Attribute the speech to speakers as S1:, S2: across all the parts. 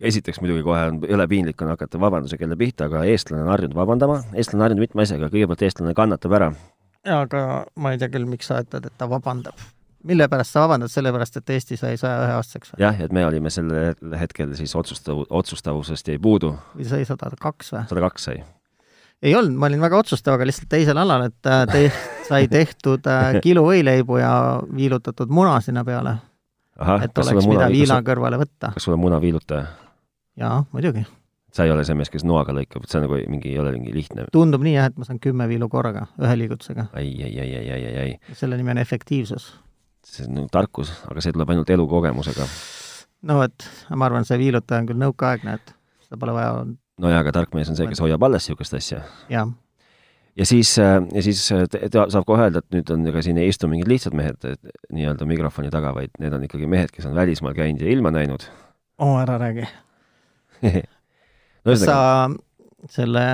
S1: esiteks muidugi kohe on jõle piinlik on hakata vabanduse kella pihta, aga eestlane on harjunud vabandama, eestlane on harjunud mitme asjaga, kõigepealt eestlane kannatab ära.
S2: aga ma ei tea küll , miks sa ütled , et ta vabandab . mille pärast sa vabandad , sellepärast et Eesti sai saja ühe aastaseks või ?
S1: jah , et me olime sel hetkel siis otsustav , otsustavusest jäi puudu ,
S2: või sai sada kaks või ?
S1: sada kaks sai .
S2: ei olnud , ma olin väga otsustav , aga lihtsalt teisel alal , et äh, te sai tehtud äh, kilo võileibu ja viilutatud muna sinna peale ,
S1: ahah ,
S2: et
S1: Ah, kas sul
S2: oleks
S1: on
S2: mida
S1: muna ,
S2: viina kõrvale võtta .
S1: kas sul on munaviilutaja ?
S2: jaa , muidugi .
S1: sa ei ole see mees , kes noaga lõikab , et see on nagu mingi , ei ole mingi lihtne .
S2: tundub nii jah , et ma saan kümme viilu korraga ühe liigutusega .
S1: ai , ai , ai , ai , ai , ai , ai ,
S2: selle nimi on efektiivsus .
S1: see on nagu tarkus , aga see tuleb ainult elukogemusega .
S2: no vot , ma arvan , see viilutaja on küll nõukaaegne , et seda pole vaja olnud .
S1: nojah , aga tark mees on see , kes hoiab alles niisugust asja .
S2: jah ,
S1: ja siis , ja siis äh, te- te- saab kohe öelda , et nüüd on , ega siin ei istu mingid lihtsad mehed et nii-öelda mikrofoni taga , vaid need on ikkagi mehed , kes on välismaal käinud ja ilma näinud .
S2: oo ära räägi .
S1: no
S2: kas sa selle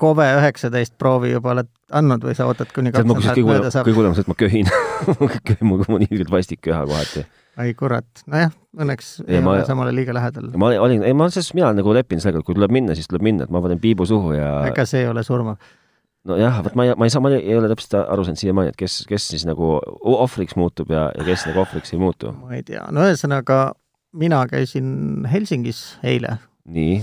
S2: Kove üheksateist proovi juba oled andnud või sa ootad , kuni
S1: tead ,
S2: kaks
S1: ma kusjuures kõige hullem ,
S2: nädalat mööda saab
S1: kõige ? hullem on see , et ma köhin . mul on nii ilgelt vastik köha kohati .
S2: ai kurat , nojah , õnneks
S1: Ei,
S2: ei
S1: ma-
S2: ole samale liiga lähedal .
S1: ma olin- olin , ei ma selles , mina olen nagu leppinud sellega , et kui tuleb minna , siis tuleb minna , et ma panen piibu suhu ja
S2: ega see ei ole surmav .
S1: nojah , vot ma ei , ma ei saa , ma ei ei ole täpselt aru saanud siiamaani , et kes , kes siis nagu ohvriks muutub ja , ja kes nagu ohvriks ei muutu .
S2: ma ei tea , no ühesõnaga mina käisin Helsingis eile
S1: nii ,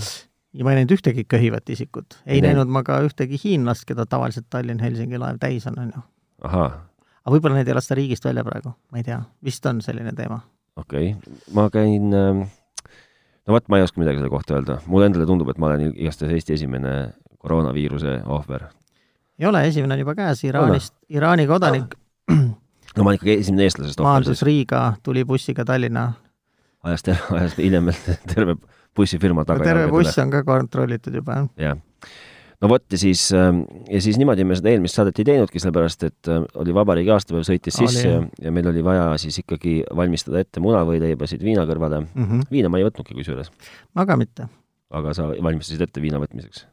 S2: ja ma ei näinud ühtegi köhivat isikut . ei
S1: Ei näinud.
S2: näinud ma ka ühtegi hiinlast , keda tavaliselt Tallinn-Helsingi laev täis on , on ju .
S1: ahaa ,
S2: aga võib-olla neid ei lasta riigist välja praegu , ma ei tea , vist on selline teema .
S1: okei okay. , ma käin ähm, no vot , ma ei oska midagi selle kohta öelda , mulle endale tundub , et ma olen igastahes Eesti esimene koroonaviiruse ohver .
S2: ei ole , esimene on juba käes , Iraanist , Iraani kodanik
S1: no ma olen ikkagi esimene eestlasest ohver
S2: maandus
S1: siis ,
S2: Riiga , tuli bussiga Tallinna
S1: ajas terve , ajas hiljem veel terve bussifirma
S2: no
S1: taga .
S2: terve buss on ka kontrollitud juba , jah .
S1: jah . no vot ja siis , ja siis niimoodi me seda eelmist saadet ei teinudki , sellepärast et äh, oli vabariigi aastapäev sõitis
S2: Oli,
S1: sisse ja,
S2: jah.
S1: ja meil oli vaja siis ikkagi valmistada ette munavõileibasid viina kõrvale .
S2: mm -hmm. .
S1: viina ma ei võtnudki kusjuures ,
S2: ma ka mitte .
S1: aga sa valmistasid ette viina võtmiseks .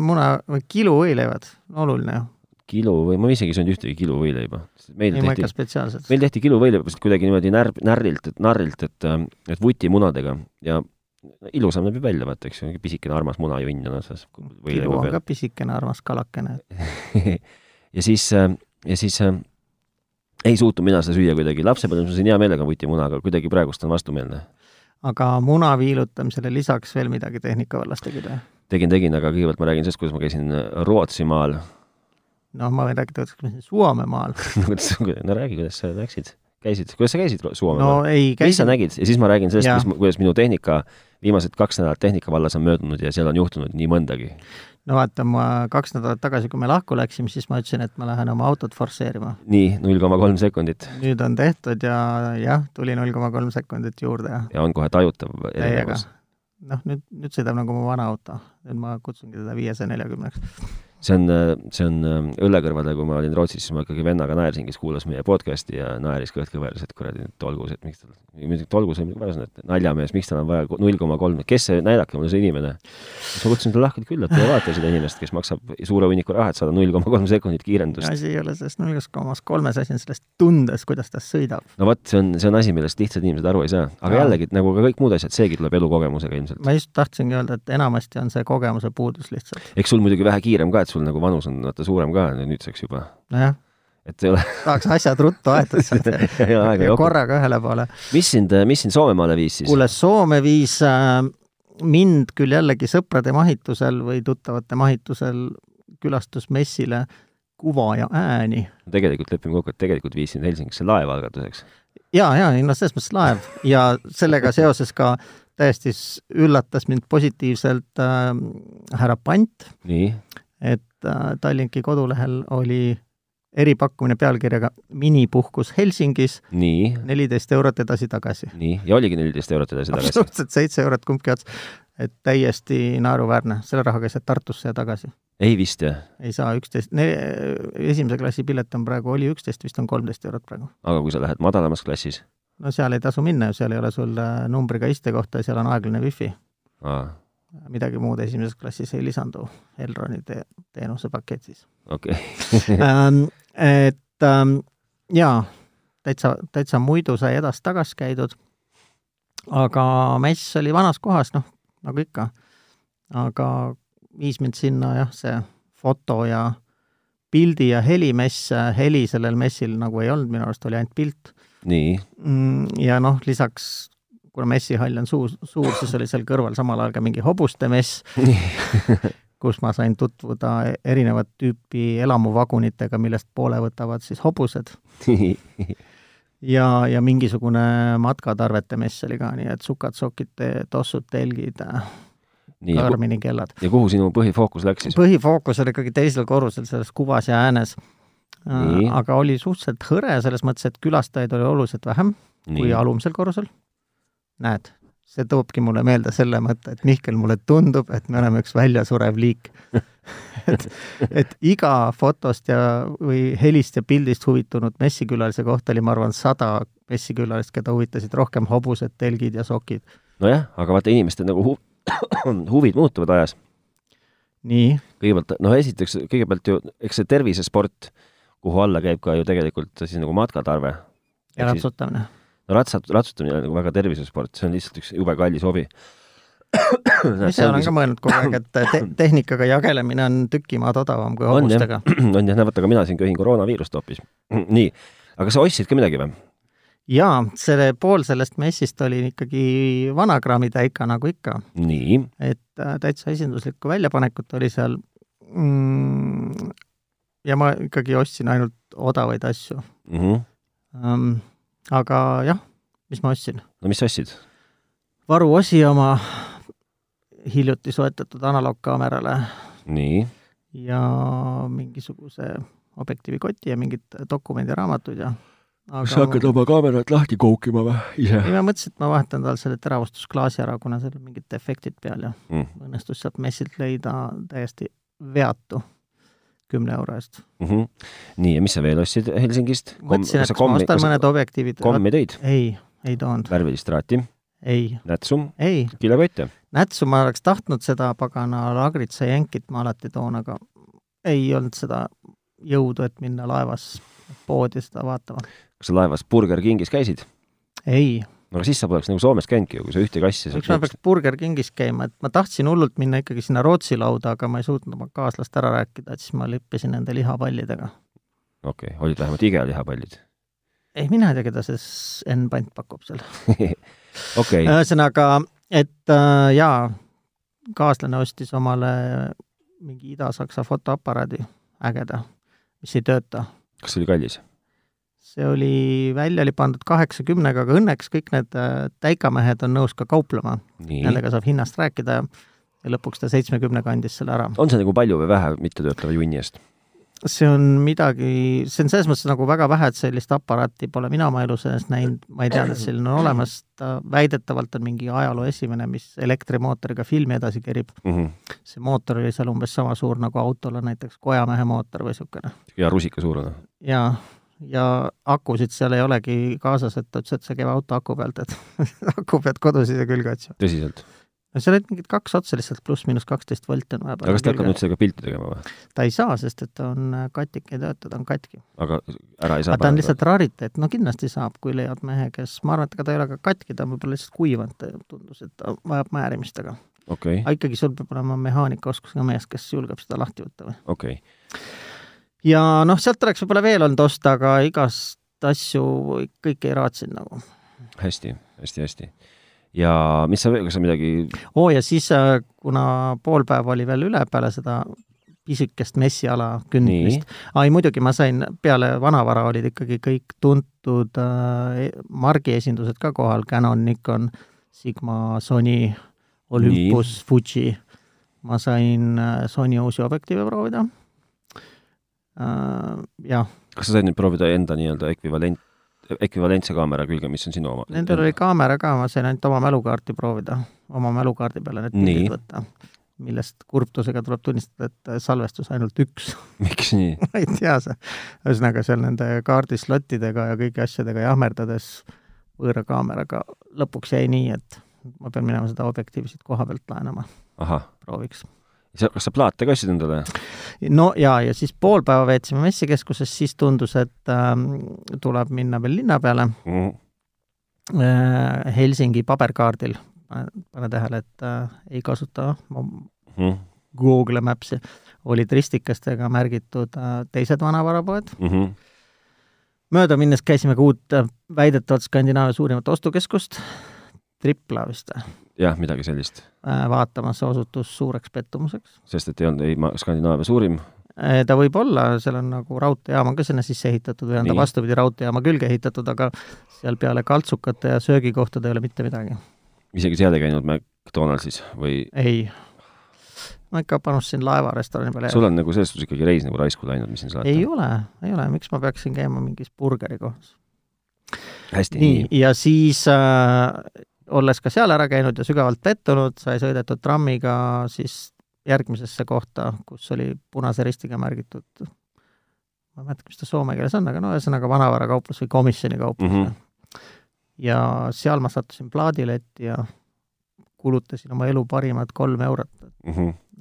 S2: muna või kiluvõileivad , oluline ju .
S1: kilo või ma isegi ei söönud ühtegi kilo võileiba . meil
S2: ei , ma ikka
S1: tehti ,
S2: spetsiaalselt .
S1: meil tehti kilo võileiba vist kuidagi niimoodi närb , närrilt , et narrilt , et , et vutimunadega ja ilusam näeb ju välja , vaata , eks ju , pisikene armas munajunn on otsas .
S2: kilu on ka pisikene armas kalakene .
S1: ja siis , ja siis äh, ei suutnud mina seda süüa kuidagi , lapsepõlves ma sõin hea meelega vutimuna , aga kuidagi praegust on vastumeelne .
S2: aga muna viilutamisele lisaks veel midagi tehnika vallas tegid või ?
S1: tegin , tegin , aga kõigepealt ma räägin sellest , kuidas ma käisin Rootsimaal .
S2: noh , ma võin rääkida , et ma siin Suomemaal .
S1: no räägi , kuidas sa läksid , käisid , kuidas sa käisid Ro- Suomemaal
S2: no
S1: no, ?
S2: ei
S1: mis sa
S2: käisin ,
S1: nägid ja siis ma räägin sellest ,
S2: Jaa.
S1: mis , kuidas minu tehnika , viimased kaks nädalat tehnika vallas on möödunud ja seal on juhtunud nii mõndagi .
S2: no vaata , ma kaks nädalat tagasi , kui me lahku läksime , siis ma ütlesin , et ma lähen oma autot forsseerima .
S1: nii , null koma kolm sekundit
S2: nüüd on tehtud ja jah , tuli null koma kolm sekundit juurde ja
S1: ja on kohe tajutav
S2: täiega
S1: erinevus ..
S2: noh , nüüd , nüüd sõidab nagu mu vana auto . nüüd ma kutsungi teda viiesaja neljakümneks .
S1: see on , see on äh, õllekõrvadel , kui ma olin Rootsis , siis ma ikkagi vennaga naersin , kes kuulas meie podcast'i ja naeris kõht kõveras , et kuradi need tolgus , et miks tal , mitte tolgus , vaid kuidas nad , naljamees , miks tal on vaja null koma kolm , kes see , näidake mulle see inimene . siis ma kutsusin talle lahkelt külla , et tule vaata seda inimest , kes maksab suure hunniku raha , et saada null koma kolm sekundit kiirendust .
S2: asi ei ole selles nullist komas kolmes , asi on selles tundes , kuidas ta sõidab .
S1: no vot , see on , see on asi , millest lihtsad inimesed aru ei saa , aga
S2: Jaa.
S1: jällegi nagu ka kõik muud asjad , seegi tuleb elukogemusega ilmselt .
S2: ma just tahtsingi öelda , et enamasti on see kogemuse puudus lihtsalt .
S1: eks sul muidugi vähe kiirem ka , et sul nagu vanus on vaata suurem ka nüüdseks juba ,
S2: nojah ,
S1: et ei ole
S2: tahaks asjad ruttu aetud sealt ja-
S1: ei ole aega
S2: ja
S1: jooksma .
S2: korraga ühele poole .
S1: mis sind , mis sind Soomemaale viis siis ?
S2: kuule , Soome viis äh, mind küll jällegi sõprade mahitusel või tuttavate mahitusel külastusmessile Kuva ja Ääni .
S1: tegelikult lepime kokku , et tegelikult viis sind Helsingisse laeva algatuseks .
S2: ja , ja ei no selles mõttes laev ja sellega seoses ka täiesti s- üllatas mind positiivselt äh, härra Pant ,
S1: nii ,
S2: et äh, Tallinki kodulehel oli eripakkumine pealkirjaga Minipuhkus Helsingis ,
S1: nii ,
S2: neliteist eurot edasi-tagasi .
S1: nii ja oligi neliteist eurot edasi-tagasi .
S2: absoluutselt seitse eurot kumbki ots . et täiesti naeruväärne , selle rahaga ei saa Tartusse ja tagasi .
S1: ei vist jah ,
S2: ei saa üksteist , esimese klassi pilet on praegu , oli üksteist , vist on kolmteist eurot praegu .
S1: aga kui sa lähed madalamas klassis ,
S2: no seal ei tasu minna ju , seal ei ole sul äh, numbriga istekohta ja seal on aeglane wifi .
S1: okei
S2: midagi muud esimeses klassis ei lisandu Elroni te teenusepaketis .
S1: okay. ,
S2: Ähm, et ähm, jaa , täitsa , täitsa muidu sai edasi-tagasi käidud aga mess oli vanas kohas, noh, nagu ikka. aga viis mind sinna jah, see foto ja pildi ja helimess, heli sellel messil nagu ei olnud, minu arust oli ainult pilt.
S1: nii ,
S2: ja noh, lisaks kuna messihall on suur, suur, siis oli seal kõrval samal ajal ka mingi hobuste mess , kus ma sain tutvuda e-, erinevat tüüpi elamuvagunitega, millest poole võtavad siis hobused ja , ja mingisugune matkatarvete mess oli ka , nii et sukad , sokid , tossud , telgid ,
S1: nii , ja
S2: karmini kellad .
S1: kuhu sinu põhifookus läks siis ?
S2: põhifookus oli ikkagi teisel korrusel selles kuvas ja äänes .
S1: Nii.
S2: aga oli suhteliselt hõre selles mõttes , et külastajaid oli oluliselt vähem kui
S1: nii ,
S2: alumisel korrusel . näed , see toobki mulle meelde selle mõtte , et Mihkel , mulle tundub , et me oleme üks väljasurev liik . et , et iga fotost ja , või helist ja pildist huvitunud messikülalise kohta oli , ma arvan , sada messikülalist , keda huvitasid rohkem hobused , telgid ja sokid .
S1: nojah , aga vaata , inimeste nagu hu- , huvid muutuvad ajas .
S2: nii ,
S1: kõigepealt , noh , esiteks kõigepealt ju , eks see tervisesport , kuhu alla käib ka ju tegelikult siis nagu matkatarve .
S2: ja ratsutamine .
S1: no ratsat- , ratsutamine on nagu väga tervisesport , see on lihtsalt üks jube kallis hobi .
S2: ise olen ka mõelnud kogu aeg , et te tehnikaga jagelemine on tüki maad odavam kui
S1: On, jah.
S2: hobustega .
S1: on jah , näe vaata , aga mina siin köhin koroonaviirust hoopis . nii , aga sa ostsid ka midagi või ?
S2: jaa , see pool sellest messist oli ikkagi vana kraamitäika , nagu ikka .
S1: nii ,
S2: et äh, täitsa esinduslikku väljapanekut oli seal mm, ja ma ikkagi ostsin ainult odavaid asju
S1: mhm.
S2: um, . aga jah , mis ma ostsin ?
S1: no mis sa ostsid ?
S2: varuosi oma hiljuti soetatud analoogkaamerale
S1: nii ,
S2: ja mingisuguse objektiivikoti ja mingid dokumendiraamatud ja aga ma,
S1: oma kaamerat lahti koukima või ? ise
S2: ei ma mõtlesin , et ma vahetan tal selle teravustusklaasi ära , kuna seal on mingid defektid peal ja
S1: mm. ?
S2: õnnestus sealt messilt leida täiesti veatu kümne euro eest .
S1: Mm -hmm. nii , ja mis sa veel ostsid Helsingist ?
S2: mõtlesin , et kas ma ostan mõned objektiivid .
S1: kommi tõid ?
S2: ei , ei toonud ,
S1: värvilist traati ,
S2: ei ,
S1: nätsu ,
S2: ei .
S1: kilekotte .
S2: nätsu ma oleks tahtnud seda pagana Lagritsa jänkit ma alati toon , aga ei olnud seda jõudu , et minna laevas poodi seda vaatama .
S1: kas sa laevas Burger Kingis käisid ?
S2: ei ,
S1: no aga siis sa poleks nagu Soomes käinudki ju , kui sa ühtegi asja
S2: eks ma peaks Burger Kingis käima , et ma tahtsin hullult minna ikkagi sinna Rootsi lauda , aga ma ei suutnud oma kaaslast ära rääkida , et siis ma lippisin nende lihapallidega .
S1: okei okay, , olid vähemalt igelihapallid .
S2: ei , mina ei tea , keda see Sven Pant pakub seal .
S1: okei ,
S2: Äh. ühesõnaga , et äh, jaa , kaaslane ostis omale mingi Ida-Saksa fotoaparaadi , ägeda , mis ei tööta .
S1: kas see oli kallis ?
S2: see oli , välja oli pandud kaheksakümnega , aga õnneks kõik need äh, täikamehed on nõus ka kauplema ,
S1: nii .
S2: nendega saab hinnast rääkida ja ja lõpuks ta seitsmekümnega andis selle ära .
S1: on see nagu palju või vähe mittetöötava junni eest ?
S2: see on midagi , see on selles mõttes nagu väga vähe , et sellist aparaati pole mina oma elu sees näinud , ma ei teadnud , et selline on olemas , ta väidetavalt on mingi ajaloo esimene , mis elektrimootoriga filmi edasi kerib .
S1: mm -hmm. ?
S2: see mootor oli seal umbes sama suur nagu autol on näiteks kojamehe mootor või niisugune
S1: ja rusika suurune .
S2: ja , ja akusid seal ei olegi kaasas , et ta ütles , et see käib auto aku pealt , et aku pead kodus ise külge otsima .
S1: tõsiselt ?
S2: no seal olid mingid kaks otsa lihtsalt , pluss-miinus kaksteist volti on vaja
S1: aga kas ta hakkab nüüd . sellega pilti tegema või ?
S2: ta ei saa , sest et ta on äh, kattik , ei tööta , ta on katki .
S1: aga ära ei saa
S2: aga ta on lihtsalt rariteet , no kindlasti saab , kui leiad mehe , kes , ma arvan , et ega ta ei ole ka katki , ta on võib-olla lihtsalt kuivanud , tundus , et ta vajab määrimist , aga
S1: okei ,
S2: aga ikkagi sul peab olema mehaanikaoskusega mees , kes julgeb seda lahti võtta või ?
S1: okei .
S2: ja noh , sealt oleks võib-olla veel olnud osta , aga igast asju kõike ei raatsinud nagu .
S1: hästi , hästi , hästi . ja mis sa veel , kas sa midagi ,
S2: oo , ja siis äh, kuna pool päeva oli veel üle peale seda pisikest messiala kündmist , ai muidugi ma sain , peale vanavara olid ikkagi kõik tuntud äh, margiesindused ka kohal , Canon , Nikon , Sigma , Sony , Olympus , Fuji . ma sain äh, Sony uusi objektiive proovida äh, . jah ,
S1: kas sa said nüüd proovida enda nii-öelda ekvivalent , ekvivalentse kaamera külge , mis on sinu oma ?
S2: Nendel oli kaamera ka , ma sain ainult oma mälukaarti proovida , oma mälukaardi peale need
S1: Nii.
S2: pildid võtta , millest kurbtusega tuleb tunnistada , et salvestus ainult üks ,
S1: miks nii ?
S2: ma ei tea see . ühesõnaga seal nende kaardislottidega ja kõigi asjadega jahmerdades võõra kaameraga lõpuks jäi nii , et ma pean minema seda objektiivi siit koha pealt laenama
S1: ahah ,
S2: prooviks .
S1: sa , kas sa plaate ka ostsid endale ?
S2: no ja , ja siis pool päeva veetsime messikeskuses , siis tundus , et ähm, tuleb minna veel linna peale
S1: Mm.
S2: äh, Helsingi paberkaardil, pane tähele, et äh, ei kasuta
S1: mm
S2: Google Maps'i, olid ristikestega märgitud äh, teised vanavarapoed.
S1: -hmm.
S2: mööda minnes käisime ka uut äh, väidetavalt Skandinaavia suurimat ostukeskust, Tripla vist äh,
S1: jah , midagi sellist ,
S2: vaatamas, osutus suureks pettumuseks. Äh,
S1: sest et ei olnud ei ma- Skandinaavia suurim ,
S2: ta võib olla , seal on nagu raudteejaam on ka sinna sisse ehitatud või on ta
S1: Nii.
S2: vastupidi raudteejaama külge ehitatud , aga seal peale kaltsukate ja söögikohtade ei ole mitte midagi .
S1: isegi seal ei käinud McDonaldsis või
S2: ei . ma ikka panustasin laevarestorani peale .
S1: sul on nagu selles suhtes ikkagi reis nagu raisku läinud , mis siin
S2: ei
S1: salata .
S2: ole , ei ole , miks ma peaksin käima mingis burgeri kohas .
S1: hästi ,
S2: nii
S1: nii ,,
S2: ja siis äh, olles ka seal ära käinud ja sügavalt pettunud , sai sõidetud trammiga siis järgmisesse kohta , kus oli punase ristiga märgitud , ma ei mäleta , mis ta soome keeles on , aga no ühesõnaga vanavarakauplus või komisjonikauplus mm .
S1: Mhm.
S2: -hmm. ja seal ma sattusin plaadiletti ja kulutasin oma elu parimad kolm eurot ,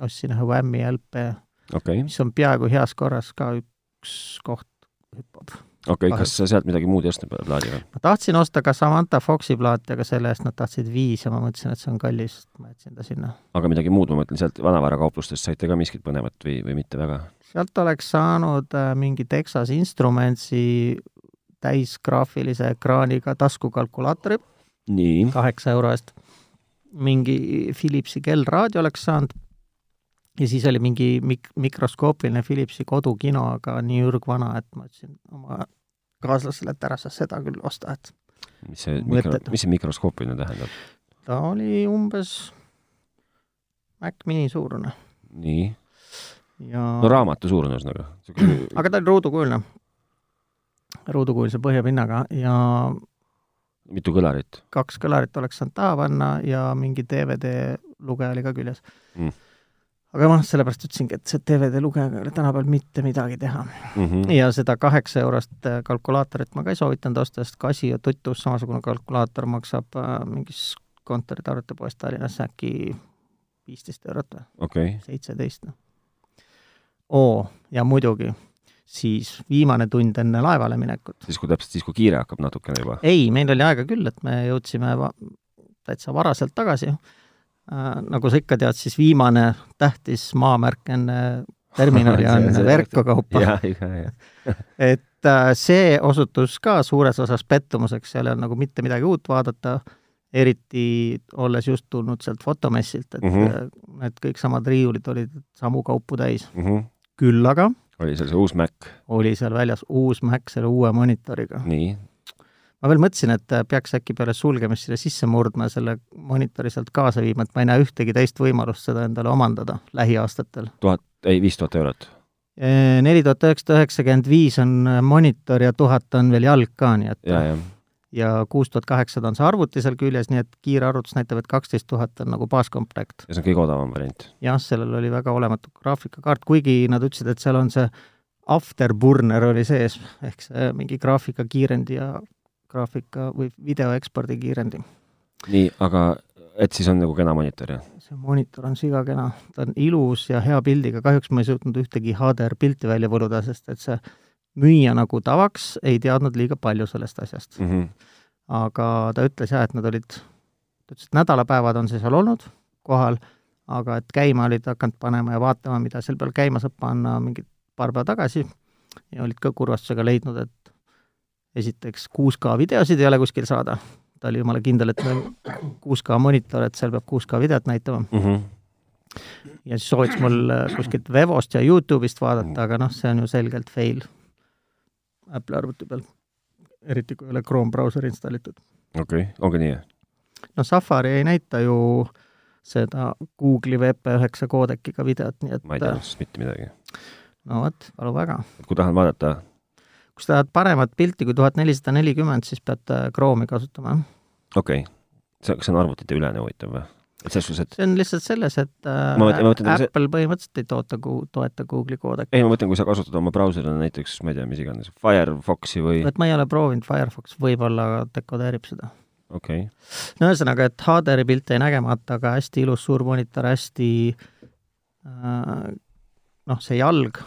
S2: ostsin ühe Whammi LP
S1: Mhm. okei ,
S2: mis on peaaegu heas korras ka üks koht hüppab .
S1: okei , kas sa sealt midagi muud ei ostnud peale plaadiga ?
S2: ma tahtsin osta ka Samantha Foxi plaati , aga selle eest nad tahtsid viis ja ma mõtlesin , et see on kallis , ma jätsin ta sinna .
S1: aga midagi muud , ma mõtlen sealt vanavarakauplustest saite ka miskit põnevat või , või mitte väga ?
S2: sealt oleks saanud äh, mingi Texas Instrumentsi täisgraafilise ekraaniga taskukalkulaatori
S1: nii ,
S2: kaheksa euro eest , mingi Philipsi kellraadio oleks saanud ja siis oli mingi mik- , mikroskoopiline Philipsi kodukino , aga nii ürgvana , et ma ütlesin oma kaaslasele , et ära sa seda küll osta , et
S1: mis see mikro
S2: Mõttetu. ,
S1: mis see mikroskoopiline tähendab ?
S2: ta oli umbes Mac Mini suurune
S1: nii ,
S2: ja
S1: no raamatu nagu. suurune ühesõnaga .
S2: aga ta oli ruudukujuline , ruudukujuline põhjapinnaga ja
S1: mitu kõlarit
S2: kaks kõlarit oleks saanud taha panna ja mingi DVD-lugeja oli ka küljes
S1: Mm. .
S2: aga noh , sellepärast ütlesingi , et see DVD-lugejaga ei ole tänapäeval mitte midagi teha .
S1: mm ? -hmm.
S2: ja seda kaheksa eurost äh, kalkulaatorit ma ka ei soovitanud osta , sest Kasi ja Tutus samasugune kalkulaator maksab äh, mingis kontoritarvete poes Tallinnas äkki viisteist eurot või ?
S1: okei okay. ,
S2: seitseteist , noh . oo , ja muidugi siis viimane tund enne laevale minekut .
S1: siis kui täpselt , siis kui kiire hakkab natukene juba .
S2: ei , meil oli aega küll , et me jõudsime va täitsa varaselt tagasi äh, . nagu sa ikka tead , siis viimane tähtis maamärk enne terminali on
S1: See- see-
S2: Verko kaupa .
S1: ja , ja , ja ,
S2: et äh, see osutus ka suures osas pettumuseks , seal ei olnud nagu mitte midagi uut vaadata , eriti olles just tulnud sealt fotomessilt , et
S1: Mhm.
S2: mm -hmm. need kõik samad riiulid olid samu kaupu täis .
S1: ja .
S2: küll aga
S1: Mhm. oli seal see uus Mac ,
S2: oli seal väljas uus Mac selle uue monitoriga .
S1: nii ,
S2: ma veel mõtlesin , et äh, peaks äkki peale sulgemist selle sisse murdma ja selle monitori sealt kaasa viima , et ma ei näe ühtegi teist võimalust seda endale omandada lähiaastatel .
S1: tuhat , ei , viis tuhat eurot .
S2: neli tuhat üheksasada üheksakümmend viis on äh, monitor ja tuhat on veel jalg ka , nii et
S1: ja , ja ,
S2: ja kuus tuhat kaheksasada on see arvuti seal küljes , nii et kiire arvutus näitab , et kaksteist tuhat on nagu baaskomplekt .
S1: ja see on kõige odavam variant .
S2: jah , sellel oli väga olematu graafikakaart , kuigi nad ütlesid , et seal on see afterburner oli sees , ehk see mingi graafikakiirendi ja graafika või video ekspordi kiirendi .
S1: nii , aga et siis on nagu kena monitor , jah ?
S2: see monitor on sigakena , ta on ilus ja hea pildiga , kahjuks ma ei suutnud ühtegi HDR-pilti välja võluda , sest et see müüja nagu tavaks ei teadnud liiga palju sellest asjast .
S1: Mhm,
S2: aga ta ütles jah , et nad olid , ta ütles , et nädalapäevad on see seal olnud kohal , aga et käima olid hakanud panema ja vaatama , mida seal peal käima saab panna mingi paar päeva tagasi ja olid ka kurvastusega leidnud , et esiteks 6K videosid ei ole kuskil saada , ta oli jumala kindel , et meil on 6K monitor , et seal peab 6K videot näitama
S1: mhm.
S2: ja siis soovitas mul äh, kuskilt Vevost ja Youtube'ist vaadata , aga noh , see on ju selgelt fail Apple'i arvuti peal , eriti kui ei ole Chrome brauser installitud .
S1: okei , ongi nii ,
S2: no Safari ei näita ju seda Google'i VP9 koodekiga videot , nii
S1: ma ei
S2: et
S1: teadnud sellest mitte midagi .
S2: no vot , palu väga .
S1: kui tahan vaadata ,
S2: kui sa tahad paremat pilti kui tuhat nelisada nelikümmend , siis pead äh, Chrome'i kasutama .
S1: okei okay. , see , kas see on arvutite ülene huvitav või ? et selles suhtes , et
S2: see on lihtsalt selles , et äh,
S1: Ma mõtlen- ma mõtlen, kui see-
S2: Apple põhimõtteliselt ei toota , toeta Google'i koodekit .
S1: ei , ma mõtlen , kui sa kasutad oma brauserina näiteks , ma ei tea , mis iganes , Firefoxi või
S2: et ma ei ole proovinud , Firefox võib-olla dekodeerib seda .
S1: okei okay. ,
S2: no ühesõnaga , et HDR-i pilt jäi nägemata , aga hästi ilus suur monitor , hästi äh, noh , see jalg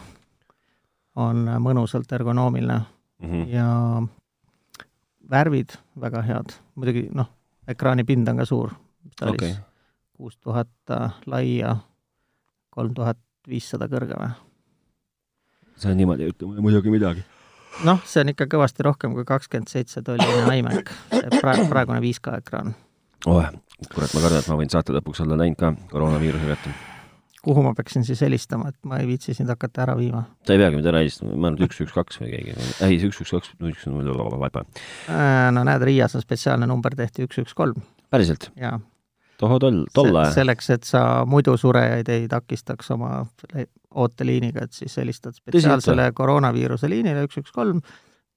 S1: Mhm,
S2: on mõnusalt ergonoomiline
S1: mm -hmm.
S2: ja värvid väga head, muidugi noh, ekraani pind on ka suur, mis ta okay. oli siis, kuus tuhat laia, kolm tuhat viissada kõrge või?
S1: see on niimoodi, ütleme muidugi midagi.
S2: noh, see on ikka kõvasti rohkem kui kakskümmend seitse tolline iMac, see praegu, praegune 5K ekraan.
S1: oeh, kurat, ma kardan, et ma võin saate lõpuks olla läinud ka koroonaviiruse kätte
S2: kuhu ma peaksin siis helistama, et ma ei viitsi sind hakata ära viima?
S1: sa ei peagi mind ära helistama, ma arvan, et üks, üks, kaks või keegi, ei, üks, üks, kaks, üks, null, vaba.
S2: Äh, no näed, Riias on spetsiaalne number, tehti üks, üks, kolm.
S1: päriselt?
S2: jaa.
S1: tohoh, toll, tol ajal.
S2: selleks, et sa muidu surejaid ei takistaks oma ooteliiniga, et siis helistad spetsiaalsele koroonaviiruse liinile üks, üks, kolm,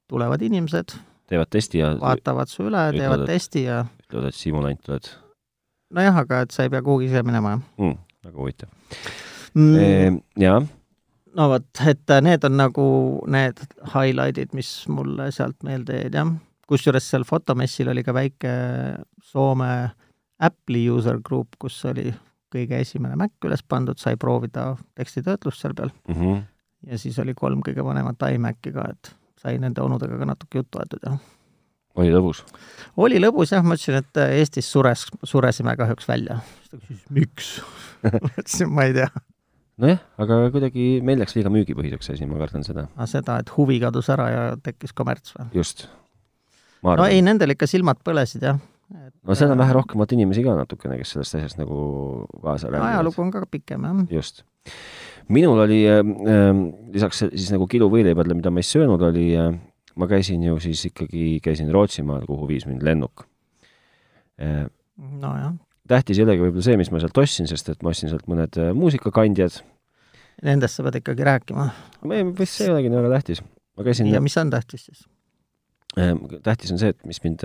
S2: tulevad inimesed.
S1: teevad testi ja
S2: vaatavad su üle, teevad testi ja
S1: ütlevad, et Siim on ainult, oled
S2: nojah, aga et sa ei pea kuhugi ise minema
S1: mm väga huvitav mm.. jaa.
S2: no vot, et need on nagu need highlight'id, mis mulle sealt meelde jäid, jah. kusjuures seal fotomessil oli ka väike Soome Apple'i user group, kus oli kõige esimene Mac üles pandud, sai proovida tekstitöötlust seal peal
S1: mm. -hmm.
S2: ja siis oli kolm kõige vanemat iMaci ka, et sai nende onudega ka natuke juttu aetud ja
S1: oli lõbus?
S2: oli lõbus jah, ma ütlesin, et äh, Eestis sures, suresime kahjuks välja. siis ta küsis, miks ma ütlesin, ma ei tea.
S1: nojah, aga kuidagi meil läks liiga müügipõhiseks see asi, ma kardan seda.
S2: Ah, seda, et huvi kadus ära ja tekkis kommerts või?
S1: just.
S2: no ei, nendel ikka silmad põlesid jah.
S1: Et, no seal on vähe rohkemat inimesi ka natukene, kes sellest asjast nagu kaasa
S2: räägivad no,. ajalugu on ka pikem jah.
S1: just minul oli äh, lisaks siis nagu kiluvõileibadele, mida ma ei söönud, oli äh, ma käisin ju siis ikkagi, käisin Rootsimaal, kuhu viis mind lennuk. Äh,
S2: nojah.
S1: tähtis ei olegi võib-olla see, mis ma sealt ostsin, sest et ma ostsin sealt mõned äh, muusikakandjad.
S2: Nendest sa pead ikkagi rääkima.
S1: ei, vist see ei olegi nii väga tähtis. ma käisin.
S2: ja mis on tähtis siis?
S1: Ehm, tähtis on see, et mis mind,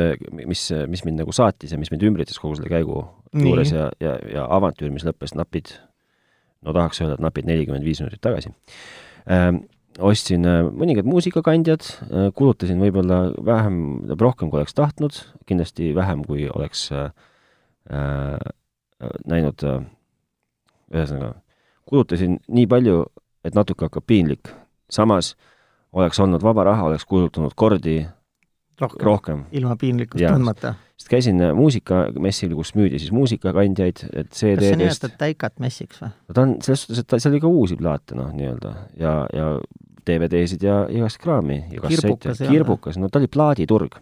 S1: mis, mis mind nagu saatis ja mis mind ümbritses kogu selle käigu nii. juures ja, ja, ja avantüür, mis lõppes napid, no tahaks öelda, et napid nelikümmend viis minutit tagasi Ehm, ostsin äh, mõningad muusikakandjad, äh, kulutasin võib-olla vähem, rohkem kui oleks tahtnud, kindlasti vähem, kui oleks äh, näinud äh,, ühesõnaga, kulutasin nii palju, et natuke hakkab piinlik. samas oleks olnud vaba raha, oleks kulutanud kordi rohkem, rohkem..
S2: ilma piinlikkust tundmata.
S1: sest käisin äh, muusikamessil, kus müüdi siis muusikakandjaid, et CD-dest. kas
S2: sa nimetad Taikat messiks või?
S1: no ta on selles suhtes, et ta, seal oli ka uusi plaate, noh, nii-öelda ja, ja DVD-sid ja igast kraami.
S2: kirbukas,
S1: kirbukas, no ta oli plaaditurg.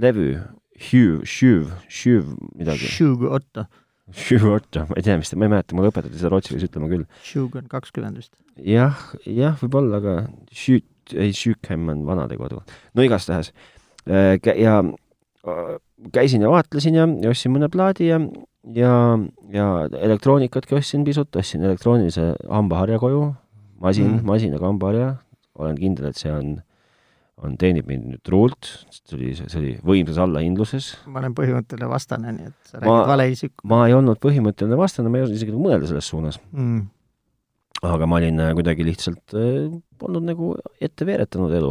S1: levü, Hüv, Hüv, Hüv midagi.
S2: Hüv Otto.
S1: Hüv Otto, ma ei tea, mis ta, ma ei mäleta, mulle õpetati seda rootsi keeles ütlema küll.
S2: Hüv on kakskümmend vist.
S1: jah, jah, võib-olla, aga Hüv ei, Sükhem on vanadekodu. no igastahes äh, ja äh, käisin ja vaatlesin ja, ja ostsin mõne plaadi ja, ja, ja elektroonikatki ostsin pisut, ostsin elektroonilise hambaharja koju, masin mm., masinaga hambaharja, olen kindel, et see on, on, teenib mind nüüd truult, see oli, see oli võimsas allahindluses.
S2: ma olen põhimõtteline vastane, nii et sa räägid ma, valeisiku.
S1: ma ei olnud põhimõtteline vastane, ma ei osanud isegi mõelda selles suunas
S2: mm
S1: aga ma olin äh, kuidagi lihtsalt olnud nagu ette veeretanud elu.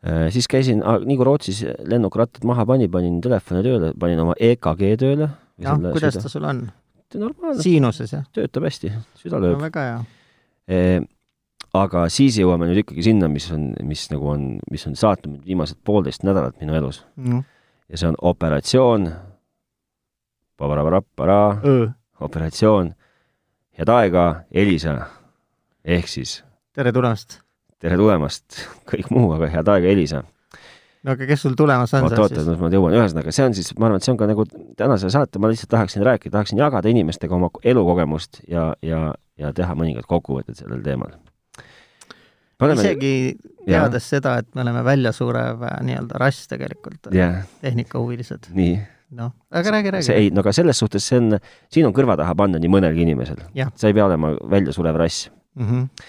S1: Äh, siis käisin, ah, nii kui Rootsis lennuk rattad maha pani, panin telefoni tööle, panin oma EKG tööle.
S2: jah, Noh, kuidas süda. ta sul on?
S1: normaalne.
S2: siinuses, jah?
S1: töötab hästi, süda lööb Äh,
S2: no,. väga hea.
S1: aga siis jõuame nüüd ikkagi sinna, mis on, mis nagu on, mis on saatnud mind viimased poolteist nädalat minu elus
S2: mm..
S1: ja see on operatsioon. operatsioon head aega, Elisa. ehk siis.
S2: tere tulemast.
S1: tere tulemast, kõik muu, aga head aega, Elisa.
S2: no aga kes sul tulemas on
S1: oot, oot, oot, ma jõuan, ühesõnaga, see on siis, ma arvan, et see on ka nagu tänase saate, ma lihtsalt tahaksin rääkida, tahaksin jagada inimestega oma elukogemust ja, ja, ja teha mõningad kokkuvõtted sellel teemal.
S2: Oleme... isegi teades ja. seda, et me oleme väljasurev nii-öelda rass tegelikult, tehnikahuvilised.
S1: nii
S2: noh, aga räägi, räägi.
S1: ei, no aga selles suhtes see on, siin on kõrva taha panna nii mõnelgi inimesel. sa ei pea olema väljasurev rass
S2: mm. -hmm.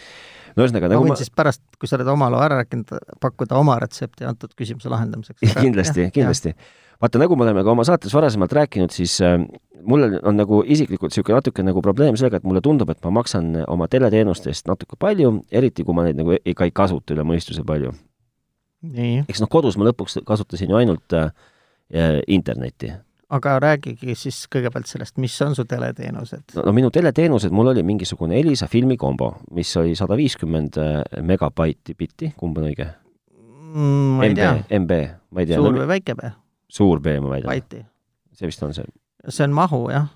S1: no ühesõnaga
S2: nagu ma võin ma... siis pärast, kui sa oled oma loo ära rääkinud, pakkuda oma retsepti antud küsimuse lahendamiseks.
S1: kindlasti, kindlasti. vaata, nagu me oleme ka oma saates varasemalt rääkinud, siis äh, mul on nagu isiklikult niisugune natuke nagu probleem sellega, et mulle tundub, et ma maksan äh, oma teleteenuste eest natuke palju, eriti kui ma neid nagu ikka ei kasuta üle mõistuse palju. eks noh, kodus ma lõpuks kasutasin ju ainult äh, internetti.
S2: aga räägigi siis kõigepealt sellest, mis on su teleteenused?
S1: no minu teleteenused, mul oli mingisugune äh, Elisa filmikombo, mis oli sada viiskümmend megabaiti bitti, kumb on õige?
S2: mm, . ma ei tea ,
S1: MB , MB , ma ei tea ,
S2: suur
S1: no,
S2: või väike B ,
S1: suur B ma väidan ,
S2: baiti .
S1: see vist on see
S2: see on mahu jah ,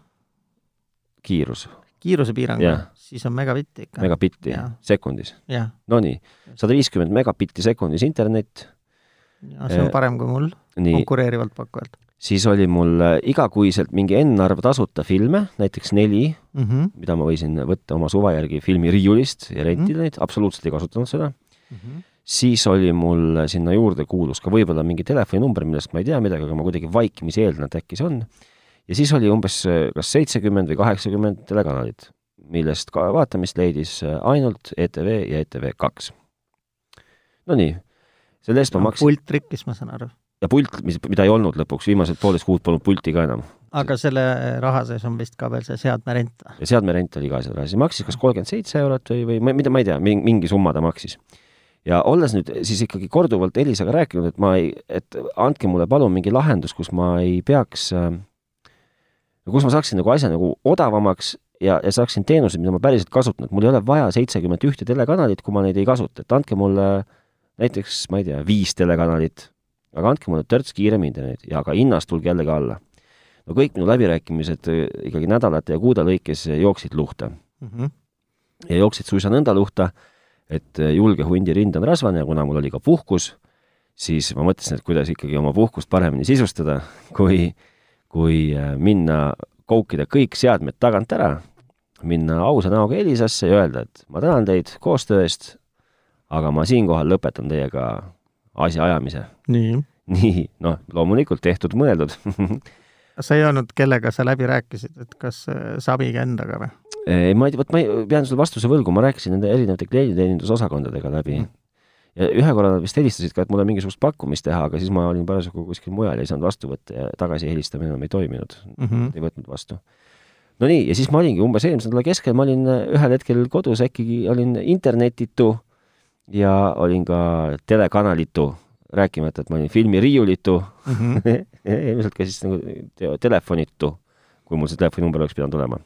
S1: kiirus ,
S2: kiirusepiirang
S1: Jah. ,
S2: siis on megabitti ikka .
S1: megabitti
S2: Jaa.
S1: sekundis .
S2: jah ,
S1: Nonii , sada viiskümmend megabitti sekundis internet ,
S2: ja see on
S1: Eh,
S2: parem kui mul ,
S1: nii ,
S2: konkureerivalt pakkujalt
S1: siis oli mul äh, igakuiselt mingi n-arv tasuta filme , näiteks neli ,
S2: mm . -hmm.
S1: mida ma võisin võtta oma suva järgi filmiriiulist ja rentida neid , absoluutselt ei kasutanud seda .
S2: Mm -hmm.
S1: siis oli mul äh, sinna juurde kuulus ka võib-olla mingi telefoninumber , millest ma ei tea midagi , aga ma kuidagi vaikimisi eeldan , et äkki see on . ja siis oli umbes äh, kas seitsekümmend või kaheksakümmend telekanalit , millest ka vaatamist leidis äh, ainult ETV ja ETV kaks . Nonii , selle eest ma maksin
S2: pult rikkis , ma saan aru .
S1: ja pult , mis , mida ei olnud lõpuks , viimased poolteist kuud polnud pulti ka enam
S2: aga selle raha sees on vist ka veel see seadmerent .
S1: ja seadmerent oli ka seal raha , siis maksis kas kolmkümmend seitse eurot või , või ma- mida , ma ei tea , mingi summa ta maksis . ja olles nüüd siis ikkagi korduvalt Elisaga rääkinud , et ma ei , et andke mulle palun mingi lahendus , kus ma ei peaks äh, , kus ma saaksin nagu asja nagu odavamaks ja , ja saaksin teenuseid , mida ma päriselt kasutan , et mul ei ole vaja seitsekümmend ühte telekanalit , kui ma neid ei kasuta , et andke mulle näiteks , ma ei tea , viis telekanalit , aga andke mulle törts kiirem internet ja ka hinnast tulge jällegi alla . no kõik minu läbirääkimised äh, ikkagi nädalate ja kuude lõikes äh, jooksid luhta
S2: Mm -hmm.
S1: ja jooksid suisa nõnda luhta , et äh, julge hundi rind on rasvane ja kuna mul oli ka puhkus , siis ma mõtlesin , et kuidas ikkagi oma puhkust paremini sisustada , kui , kui äh, minna koukida kõik seadmed tagant ära , minna ausa näoga Elisasse ja öelda , et ma tänan teid koostöö eest , aga ma siinkohal lõpetan teiega asjaajamise .
S2: nii .
S1: nii , noh , loomulikult tehtud-mõeldud
S2: sa ei olnud , kellega sa läbi rääkisid , et kas äh, Sabiga endaga või ?
S1: ei , ma ei , vot ma ei , pean sulle vastuse võlgu , ma rääkisin nende erinevate klienditeenindusosakondadega läbi mm. .
S2: Mm.
S1: ja ühe korra nad vist helistasid ka , et mul on mingisugust pakkumist teha , aga siis ma olin parasjagu kuskil mujal ja ei saanud vastu võtta ja tagasi helistamine enam ei toiminud ,
S2: mm . -hmm.
S1: ei võtnud vastu . no nii , ja siis ma olingi umbes eelmise nädala keskel , ma olin äh, ühel hetkel kodus , äkki olin internetitu ja olin ka telekanalitu , rääkimata , et ma olin filmiriiulitu
S2: Mm
S1: Mhm.
S2: -hmm.
S1: ilmselt ka siis nagu te- telefonitu , kui mul see telefoninumber oleks pidanud olema .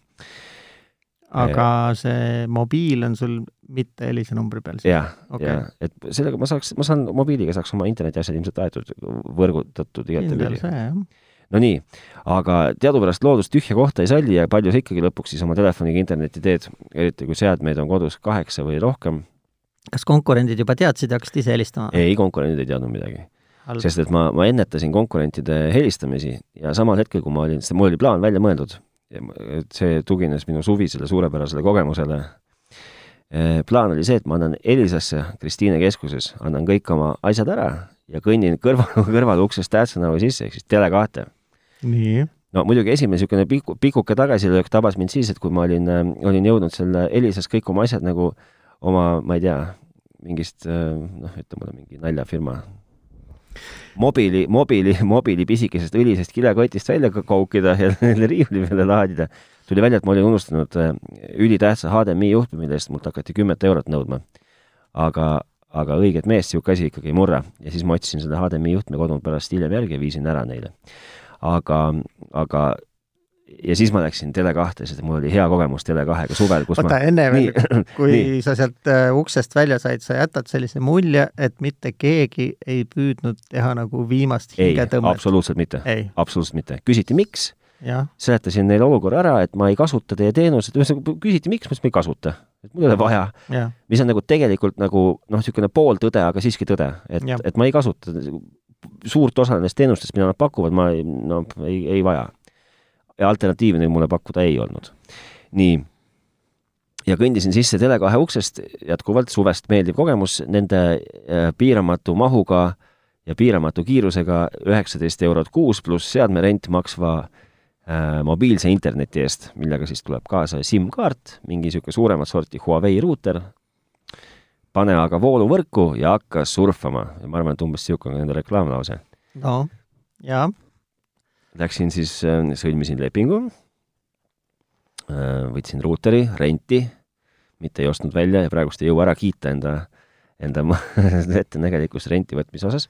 S2: aga see mobiil on sul mitte Elisa numbri peal siis ?
S1: jah ,
S2: Okei.
S1: ja et sellega ma saaks , ma saan mobiiliga saaks oma internetiasjad ilmselt aetud , võrgutatud
S2: kindel
S1: igatepidi .
S2: see jah .
S1: no nii , aga teadupärast loodus tühja kohta ei salli ja palju sa ikkagi lõpuks siis oma telefoniga internetti teed , eriti kui seadmeid on kodus kaheksa või rohkem .
S2: kas konkurendid juba teadsid ja hakkasid ise helistama ?
S1: ei , konkurendid ei teadnud midagi ,
S2: Mm.
S1: sest et ma , ma ennetasin konkurentide helistamisi ja samal hetkel , kui ma olin , mul oli plaan välja mõeldud , see tugines minu suvisele suurepärasele kogemusele . plaan oli see , et ma annan Elisasse Kristiine keskuses , annan kõik oma asjad ära ja kõnnin kõrval , kõrval uksest Tähtsanava sisse ehk siis Tele2-te .
S2: nii .
S1: no muidugi esimene niisugune piku , pikuke tagasilöök tabas mind siis , et kui ma olin , olin jõudnud selle Elisas kõik oma asjad nagu oma , ma ei tea , mingist äh, noh , ütle mulle mingi naljafirma mobiili , mobiili , mobiili pisikesest õlisest kilekotist välja ka- koukida ja selle riiuli peale laadida . tuli välja , et ma olin unustanud äh, ülitähtsa HDMI juhtme , mille eest mult hakati kümmet eurot nõudma . aga , aga õiget meest niisugune asi ikkagi ei murra ja siis ma otsisin selle HDMI juhtme kodunt pärast hiljem järgi ja viisin ära neile . aga , aga ja siis ma läksin Tele2-te , sest mul oli hea kogemus Tele2-ga suvel , kus
S2: oota , enne
S1: ma
S2: veel , kui
S1: nii.
S2: sa sealt äh, uksest välja said , sa jätad sellise mulje , et mitte keegi ei püüdnud teha nagu viimast
S1: ei ,
S2: hingetõmmet .
S1: absoluutselt mitte ,
S2: ei ,
S1: absoluutselt mitte . küsiti , miks
S2: jah ,
S1: seletasin neile olukorra ära , et ma ei kasuta teie teenuseid , ühesõnaga küsiti , miks ma siis ei kasuta , et mul ei ole vaja ,
S2: jah ,
S1: mis on nagu tegelikult nagu noh , niisugune pooltõde , aga siiski tõde , et
S2: Jah. ,
S1: et ma ei kasuta suurt osa nendest teenustest , mida nad pakuvad , ma ei- no ei , ei vaja . ja alternatiivi neil mulle pakkuda ei olnud . nii . ja kõndisin sisse Tele2 uksest , jätkuvalt suvest meeldiv kogemus nende äh, piiramatu mahuga ja piiramatu kiirusega üheksateist eurot kuus pluss seadmerent maksva äh, mobiilse interneti eest , millega siis tuleb kaasa SIM-kaart , mingi niisugune suuremat sorti Huawei ruuter , pane aga voolu võrku ja hakka surfama . ma arvan , et umbes niisugune on ka nende reklaamlause .
S2: no , jah ,
S1: Läksin siis , sõlmisin lepingu , võtsin ruuteri , renti , mitte ei ostnud välja ja praegust ei jõua ära kiita enda , enda ma- ettenägelikkust renti võtmise osas .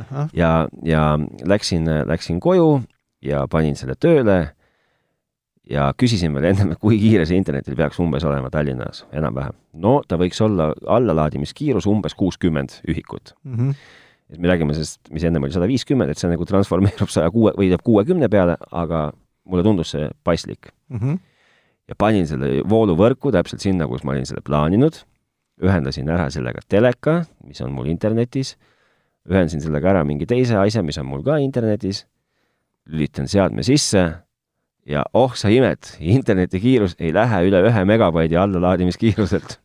S2: ahah ,
S1: ja , ja läksin , läksin koju ja panin selle tööle ja küsisin veel ennem , kui kiire see internetil peaks umbes olema Tallinnas ,
S2: mhm,
S1: enam-vähem . no ta võiks olla allalaadimiskiirus umbes kuuskümmend ühikut . et me räägime sellest, mis ennem oli sada viiskümmend, et see nagu transformeerub saja kuue või jääb kuuekümne peale, aga mulle tundus see paslik
S2: mm. -hmm.
S1: ja panin selle vooluvõrku täpselt sinna, kus ma olin selle plaaninud, ühendasin ära sellega teleka, mis on mul internetis, ühendasin sellega ära mingi teise asja, mis on mul ka internetis, lülitan seadme sisse ja oh sa imet, internetikiirus ei lähe üle ühe megabaidi allalaadimiskiiruselt.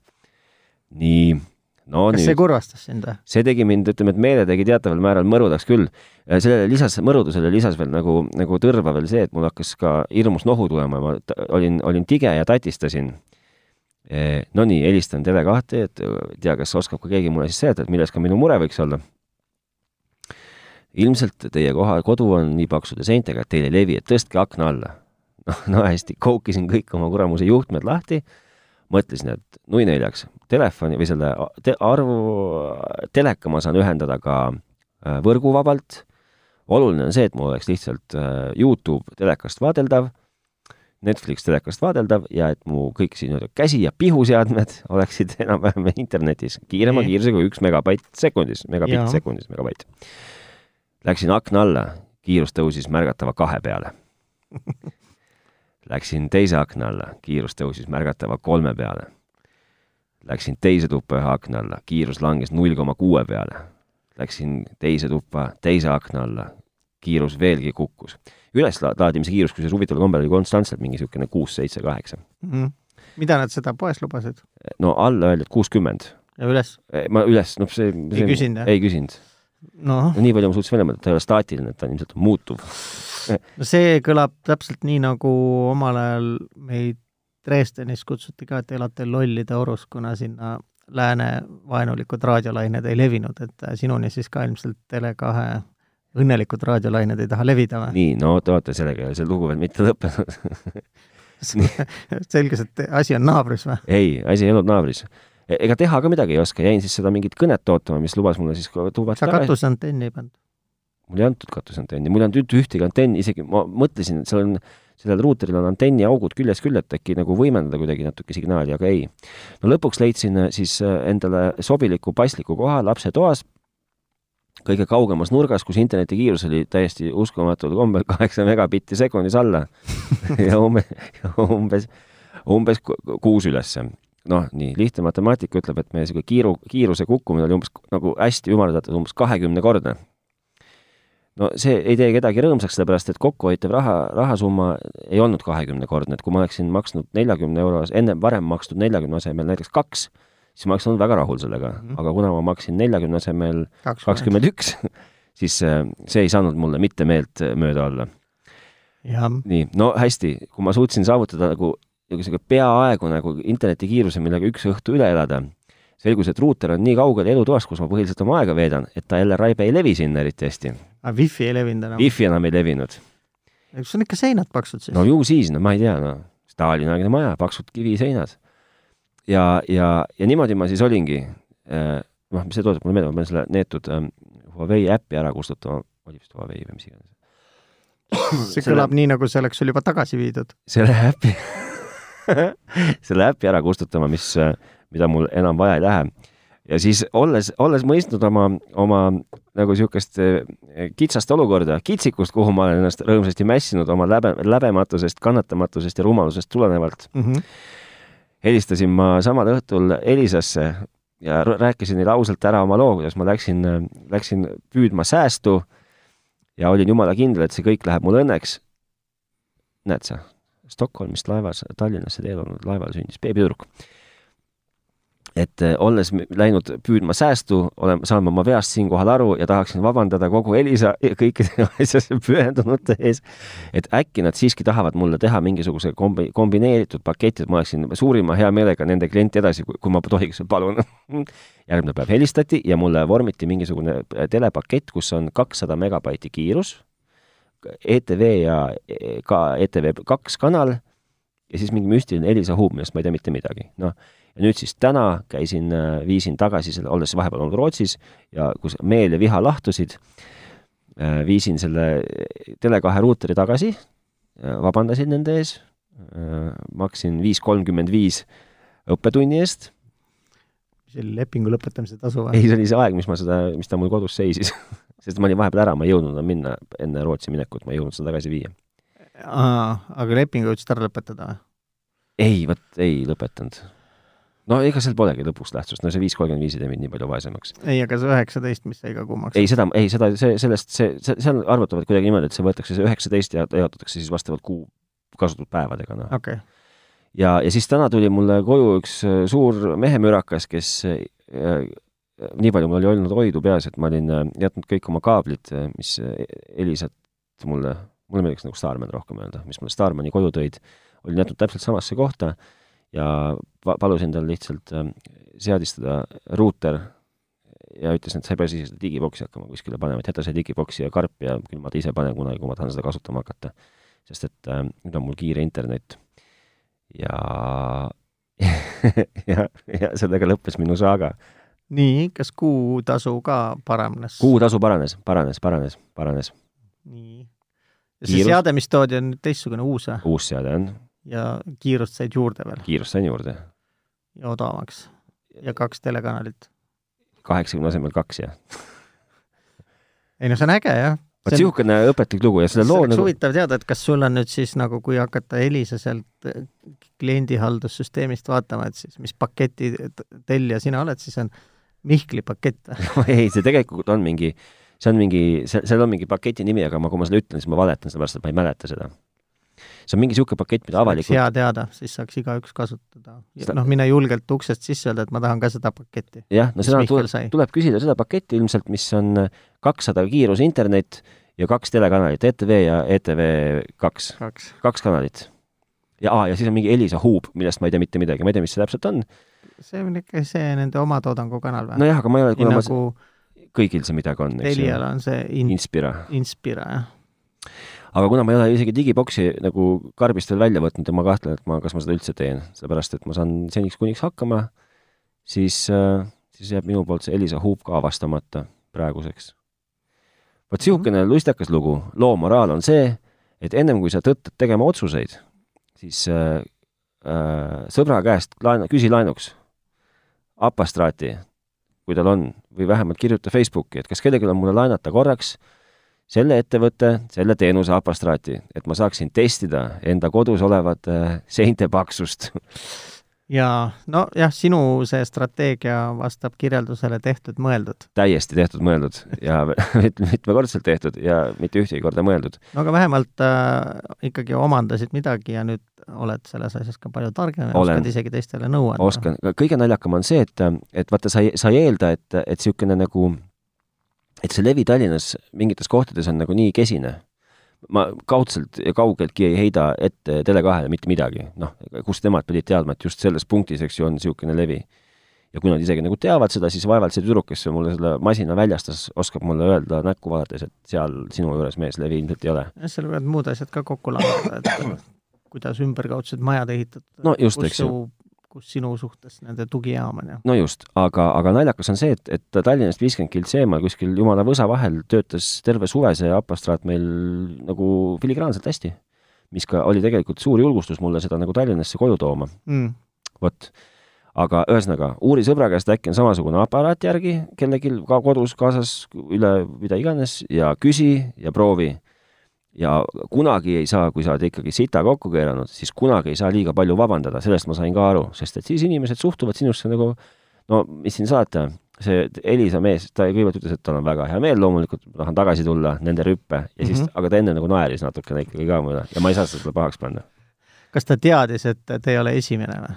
S1: nii no
S2: kas
S1: nüüd.
S2: see kurvastas sind või?
S1: see tegi mind, ütleme, et meele tegi teataval määral mõrudaks küll. Äh, sellele lisas, mõrudusele lisas veel nagu, nagu tõrva veel see, et mul hakkas ka hirmus nohu tulema, ma t- olin, olin tige ja tatistasin. Nonii, helistan Tele2-e, et ei tea, kas oskab ka keegi mulle siis seletada, et milles ka minu mure võiks olla. ilmselt teie koha, kodu on nii paksude seintega, et teil ei levi, et tõstke akna alla. noh, no hästi, koukisin kõik oma kuramuse juhtmed lahti, mõtlesin, et nui neljaks, telefoni või selle te arvu , teleka ma saan ühendada ka äh, võrguvabalt. oluline on see, et mul oleks lihtsalt äh, Youtube telekast vaadeldav, Netflix telekast vaadeldav ja et mu kõik siin nii-öelda käsi- ja pihuseadmed oleksid enam-vähem internetis kiirema
S2: Nii.
S1: kiirusega kui üks megabait sekundis , megabitt
S2: Jaa.
S1: sekundis , megabait . Läksin akna alla , kiirus tõusis märgatava kahe peale . Läksin teise akna alla , kiirus tõusis märgatava kolme peale . Läksin teise tuppa ühe akna alla , kiirus langes null koma kuue peale . Läksin teise tuppa teise akna alla , kiirus veelgi kukkus . üleslaadimise kiirus , kusjuures huvitaval kombel oli konstantselt mingi niisugune kuus , seitse , kaheksa .
S2: Mhm. mida nad seda poes lubasid
S1: no alla öeldi , et kuuskümmend .
S2: ja üles ?
S1: ma üles , noh , see see-
S2: küsinud, jah?
S1: ei küsinud .
S2: noh ,
S1: no nii palju ma suutsin välja mõelda , et ta ei ole staatiline , et ta on ilmselt muutuv .
S2: see kõlab täpselt nii , nagu omal ajal meid Dresdenis kutsuti ka , et elate lollide orus , kuna sinna lääne vaenulikud raadiolained ei levinud , et äh, sinuni siis ka ilmselt Tele2 õnnelikud raadiolained ei taha levida või ?
S1: nii , no oota , oota , sellega ei ole see lugu veel mitte lõppenud .
S2: selgus , et asi on naabris või ?
S1: ei , asi ei olnud naabris . ega teha ka midagi ei oska , jäin siis seda mingit kõnet ootama , mis lubas mulle siis ka tuua
S2: sa . katuseantenni ei pannud ?
S1: mul ei antud katuseantenni , mul ei antud üht- ühtegi antenni , isegi ma mõtlesin , et seal on , sellel ruuteril on antenniaugud küljes küll , et äkki nagu võimendada kuidagi natuke signaali , aga ei . no lõpuks leidsin äh, siis äh, endale sobiliku pasliku koha lapse toas , kõige kaugemas nurgas , kus interneti kiirus oli täiesti uskumatul kombel kaheksa megabitti sekundis alla ja umbe- , umbes , umbes ku- kuus ülesse noh , nii lihtne matemaatika ütleb , et meie sihuke kiiru , kiiruse kukkumine oli umbes nagu hästi ümardatud , umbes kahekümnekordne . no see ei tee kedagi rõõmsaks , sellepärast et kokkuhoitav raha , rahasumma ei olnud kahekümnekordne , et kui ma oleksin maksnud neljakümne euro , ennem varem makstud neljakümne asemel näiteks kaks , siis ma oleks olnud väga rahul sellega mm ,
S2: Mhm.
S1: -hmm. aga kuna ma maksin neljakümne asemel kakskümmend üks , siis äh, see ei saanud mulle mitte meelt äh, mööda olla .
S2: jah ,
S1: nii , no hästi , kui ma suutsin saavutada nagu niisuguse peaaegu nagu internetikiiruse , millega üks õhtu üle elada , selgus , et ruuter on nii kaugel elutoas , kus ma põhiliselt oma aega veedan , et ta jälle raibe ei levi sinna eriti hästi .
S2: aga wifi ei levinud enam .
S1: Wi-Fi enam ei levinud .
S2: sul on ikka seinad paksud siis
S1: no ? ju siis , no ma ei tea , noh , Stalini-aegne maja , paksud kiviseinad . ja , ja , ja niimoodi ma siis olingi eh, , noh , see tuletab mulle meelde , ma pean selle neetud eh, Huawei äppi ära kustutama , oli vist Huawei või mis iganes .
S2: see
S1: selle-
S2: kõlab nii , nagu see oleks sul juba tagasi viidud .
S1: selle äpi , selle äpi ära kustutama , mis , mida mul enam vaja ei lähe . ja siis olles , olles mõistnud oma , oma nagu niisugust eh, kitsast olukorda , kitsikust , kuhu ma olen ennast rõõmsasti mässinud oma läbe , läbematusest , kannatamatusest ja rumalusest tulenevalt , helistasin ma samal õhtul Elisasse ja r- rääkisin neile ausalt ära oma loo , kuidas ma läksin , läksin püüdma säästu ja olin jumala kindel , et see kõik läheb mul õnneks . näed sa , Stockholmist laevas Tallinnasse teel olnud laeval sündis beebitüdruk . et eh, olles m- läinud püüdma säästu , olen , saan ma oma veast siinkohal aru ja tahaksin vabandada kogu Elisa ja kõikide asjasse pühendunute ees , et äkki nad siiski tahavad mulle teha mingisuguse kombi- , kombineeritud paketi , et ma oleksin suurima hea meelega nende klient edasi , kui ma tohiks , palun . järgmine päev helistati ja mulle vormiti mingisugune äh, telepakett , kus on kakssada megabaiti kiirus , ETV ja eh, ka ETV kaks kanal ja siis mingi müstiline Elisa Hub , millest ma ei tea mitte midagi , noh . ja nüüd siis täna käisin , viisin tagasi selle , olles vahepeal olnud Rootsis ja kus meel ja viha lahtusid , Äh, viisin selle Tele2 ruuteri tagasi , vabandasin nende ees , äh, maksin viis kolmkümmend viis õppetunni eest
S2: see oli lepingu lõpetamise tasu
S1: ei , see oli see aeg , mis ma seda , mis ta mul kodus seisis . sest ma olin vahepeal ära , ma ei jõudnud enam minna enne Rootsi minekut , ma ei jõudnud seda tagasi viia .
S2: aga lepingu jõudsid ära lõpetada või ?
S1: ei , vot ei lõpetanud . no ega seal polegi lõpuks tähtsust , no see viis kolmkümmend viis ei tee mind nii palju vaesemaks .
S2: ei , aga see üheksateist , mis sai ka kuumaks ?
S1: ei , seda , ei seda , see , sellest , see, see , seal arvutavad kuidagi niimoodi , et see võetakse see üheksateist ja jaotatakse siis vastavalt kuu kasutatud päevadega , noh .
S2: okei okay. ,
S1: ja , ja siis täna tuli mulle koju üks äh, suur mehemürakas , kes äh, äh, nii palju mul oli olnud hoidu peas , et ma olin äh, jätnud kõik oma kaablid , mis äh, Elisat mulle , mulle meeldiks nagu Starman rohkem öelda , mis mulle Starmani koju tõid , olin jätnud täpselt samasse kohta ja pa- palusin tal lihtsalt äh, seadistada ruuter ja ütles , et sa ei pea siis seda digiboksi hakkama kuskile panema , et jäta see digiboksi ja karp ja küll ma ta ise panen kunagi , kui ma tahan seda kasutama hakata . sest et äh, nüüd on mul kiire internet ja ja , ja sellega lõppes minu saaga .
S2: nii , kas kuutasu ka paranes ?
S1: kuutasu paranes , paranes , paranes , paranes .
S2: nii . ja see
S1: Kiirus-
S2: seade , mis toodi , on nüüd teistsugune uus või ?
S1: uus seade on ,
S2: ja kiirust said juurde veel
S1: kiirust sain juurde .
S2: ja odavamaks ja kaks telekanalit .
S1: kaheksakümne asemel kaks ja .
S2: ei no see on äge jah .
S1: vot niisugune õpetlik lugu ja selle
S2: see
S1: loo
S2: oleks
S1: nagu ,
S2: huvitav teada , et kas sul on nüüd siis nagu , kui hakata Elisa sealt äh, kliendihaldussüsteemist vaatama , et siis mis paketi t- tellija sina oled , siis on Mihkli pakett või ?
S1: ei , see tegelikult on mingi , see on mingi , see , seal on mingi paketi nimi , aga ma , kui ma selle ütlen , siis ma valetan , sellepärast et ma ei mäleta seda . see on mingi niisugune pakett , mida avalikult ,
S2: hea teada , siis saaks igaüks kasutada
S1: Seda- .
S2: noh , mine julgelt uksest sisse öelda , et ma tahan ka seda paketti .
S1: jah , no
S2: mis
S1: seda tuleb
S2: Mihkel sai ?
S1: tuleb küsida seda paketti ilmselt , mis on kakssada kiirus internet ja kaks telekanalit , ETV ja ETV kaks .
S2: kaks .
S1: kaks kanalit . ja aa , ja siis on mingi Elisa huub , millest ma ei tea mitte midagi , ma ei tea , mis see täpselt on .
S2: see on ikka see nende oma toodangu kanal või ?
S1: nojah , aga ma ei ole ,
S2: nii
S1: kuna ma
S2: nagu
S1: kõigil see midagi on , eks ju
S2: Telial . on see in- ,
S1: Inspira .
S2: Inspira jah .
S1: aga kuna ma ei ole isegi digiboksi nagu karbist veel välja võtnud ja ma kahtlen , et ma , kas ma seda üldse teen , sellepärast et ma saan seniks kuniks hakkama , siis , siis jääb minu poolt see Elisa huub ka avastamata praeguseks . vot niisugune lustakas lugu , loo moraal on see , et ennem kui sa tõttad tegema otsuseid , siis äh, äh, sõbra käest laena , küsi laenuks apastraati , kui tal on , või vähemalt kirjuta Facebooki , et kas kellelgi on mulle laenata korraks selle ettevõtte , selle teenuse apastraati , et ma saaksin testida enda kodus olevat äh, seinte paksust .
S2: jaa , nojah , sinu see strateegia vastab kirjeldusele tehtud-mõeldud .
S1: täiesti tehtud , mõeldud ja mit- mitmekordselt tehtud ja mitte ühtegi korda mõeldud .
S2: no aga vähemalt äh, ikkagi omandasid midagi ja nüüd oled selles asjas ka palju targem ja
S1: Olen.
S2: oskad isegi teistele nõu anda .
S1: oskan , kõige naljakam on see , et , et vaata , sa ei , sa ei eelda , et , et niisugune nagu , et see levi Tallinnas mingites kohtades on nagu nii kesine . ma kaudselt ja kaugeltki ei heida ette Tele2-le mitte midagi , noh , kust nemad pidid teadma , et just selles punktis , eks ju , on niisugune levi . ja kui nad isegi nagu teavad seda , siis vaevalt see tüdruk , kes mulle selle masina väljastas , oskab mulle öelda näkku vaadates , et seal sinu juures mees levi ilmselt ei ole .
S2: jah , seal võivad muud asjad ka kokku langeda , et kuidas ümberkaudsed majad ehitatud .
S1: No just, eks ju. .
S2: kus sinu suhtes nende tugijaam on ja .
S1: no just , aga , aga naljakas on see , et , et Tallinnast viiskümmend kilt seemal kuskil jumala võsa vahel töötas terve suve see apastraat meil nagu filigraanselt hästi . mis ka oli tegelikult suur julgustus mulle seda nagu Tallinnasse koju tooma ,
S2: Mm.
S1: vot . aga ühesõnaga , uuri sõbra käest , äkki on samasugune aparaat järgi kellelgi ka kodus , kaasas , üle mida iganes ja küsi ja proovi . ja kunagi ei saa , kui sa oled ikkagi sita kokku keeranud , siis kunagi ei saa liiga palju vabandada , sellest ma sain ka aru , sest et siis inimesed suhtuvad sinusse nagu no mis siin salata , see Elisa mees , ta kõigepealt ütles , et tal on väga hea meel , loomulikult ma tahan tagasi tulla nende rüppe ja siis mm ,
S2: Mhm.
S1: -hmm. aga ta enne nagu naeris natukene ikkagi ka mulle ja ma ei saa seda pahaks panna .
S2: kas ta teadis , et te ei ole esimene või ?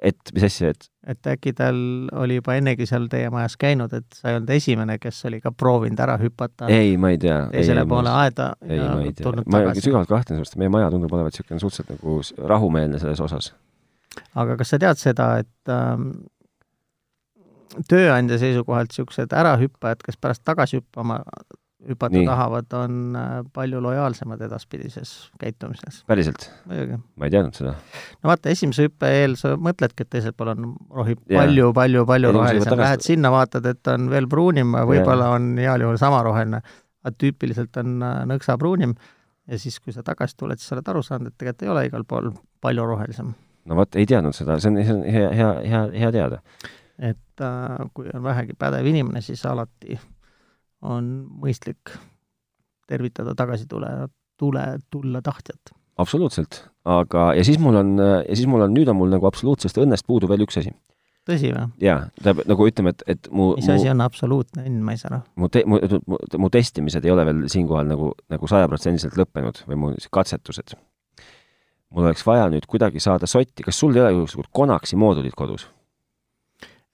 S1: et mis asja , et
S2: et äkki tal oli juba ennegi seal teie majas käinud , et sa ei olnud esimene , kes oli ka proovinud ära hüpata
S1: ei , ma ei tea .
S2: Ah. teisele poole aeda
S1: ei ,
S2: ja
S1: ma ei tea ,
S2: tulnud
S1: ma
S2: tagasi .
S1: sügavalt kahtlen sellest , meie maja tundub olevat niisugune suhteliselt nagu s- rahumeelne selles osas .
S2: aga kas sa tead seda , et ähm, tööandja seisukohalt niisugused ärahüppajad , kes pärast tagasi hüppama , hüpata
S1: Nii.
S2: Nii. tahavad , on äh, palju lojaalsemad edaspidises käitumises ,
S1: päriselt ,
S2: muidugi .
S1: ma ei teadnud seda .
S2: no vaata , esimese hüppe eel sa mõtledki , et teisel pool on rohi
S1: Jaa.
S2: palju , palju , palju
S1: Ja inimesed
S2: rohelisem ,
S1: võtavad tagasi-
S2: lähed sinna , vaatad , et on veel pruunim , võib-olla on heal juhul sama roheline , aga tüüpiliselt on äh, nõksa pruunim ja siis , kui sa tagasi tuled , siis sa oled aru saanud , et tegelikult ei ole igal pool palju rohelisem .
S1: no vot , ei teadnud seda , see on , see on hea , hea , hea , hea teada .
S2: et äh, kui on vähegi pädev inimene, siis alati on mõistlik tervitada tagasi tule, tule, tulla tahtjat.
S1: absoluutselt, aga, ja siis mul on, ja siis mul on, nüüd on mul nagu absoluutsest õnnest puudu veel üks asi.
S2: tõsi või?
S1: jaa, tähendab, nagu ütleme, et, et mu
S2: mis asi on absoluutne õnn, ma ei saa aru.
S1: mu te- , mu, mu, mu testimised ei ole veel siinkohal nagu, nagu sajaprotsendiliselt lõppenud või mu katsetused. mul oleks vaja nüüd kuidagi saada sotti, kas sul ei ole juhuslikult Konaksi moodulit kodus?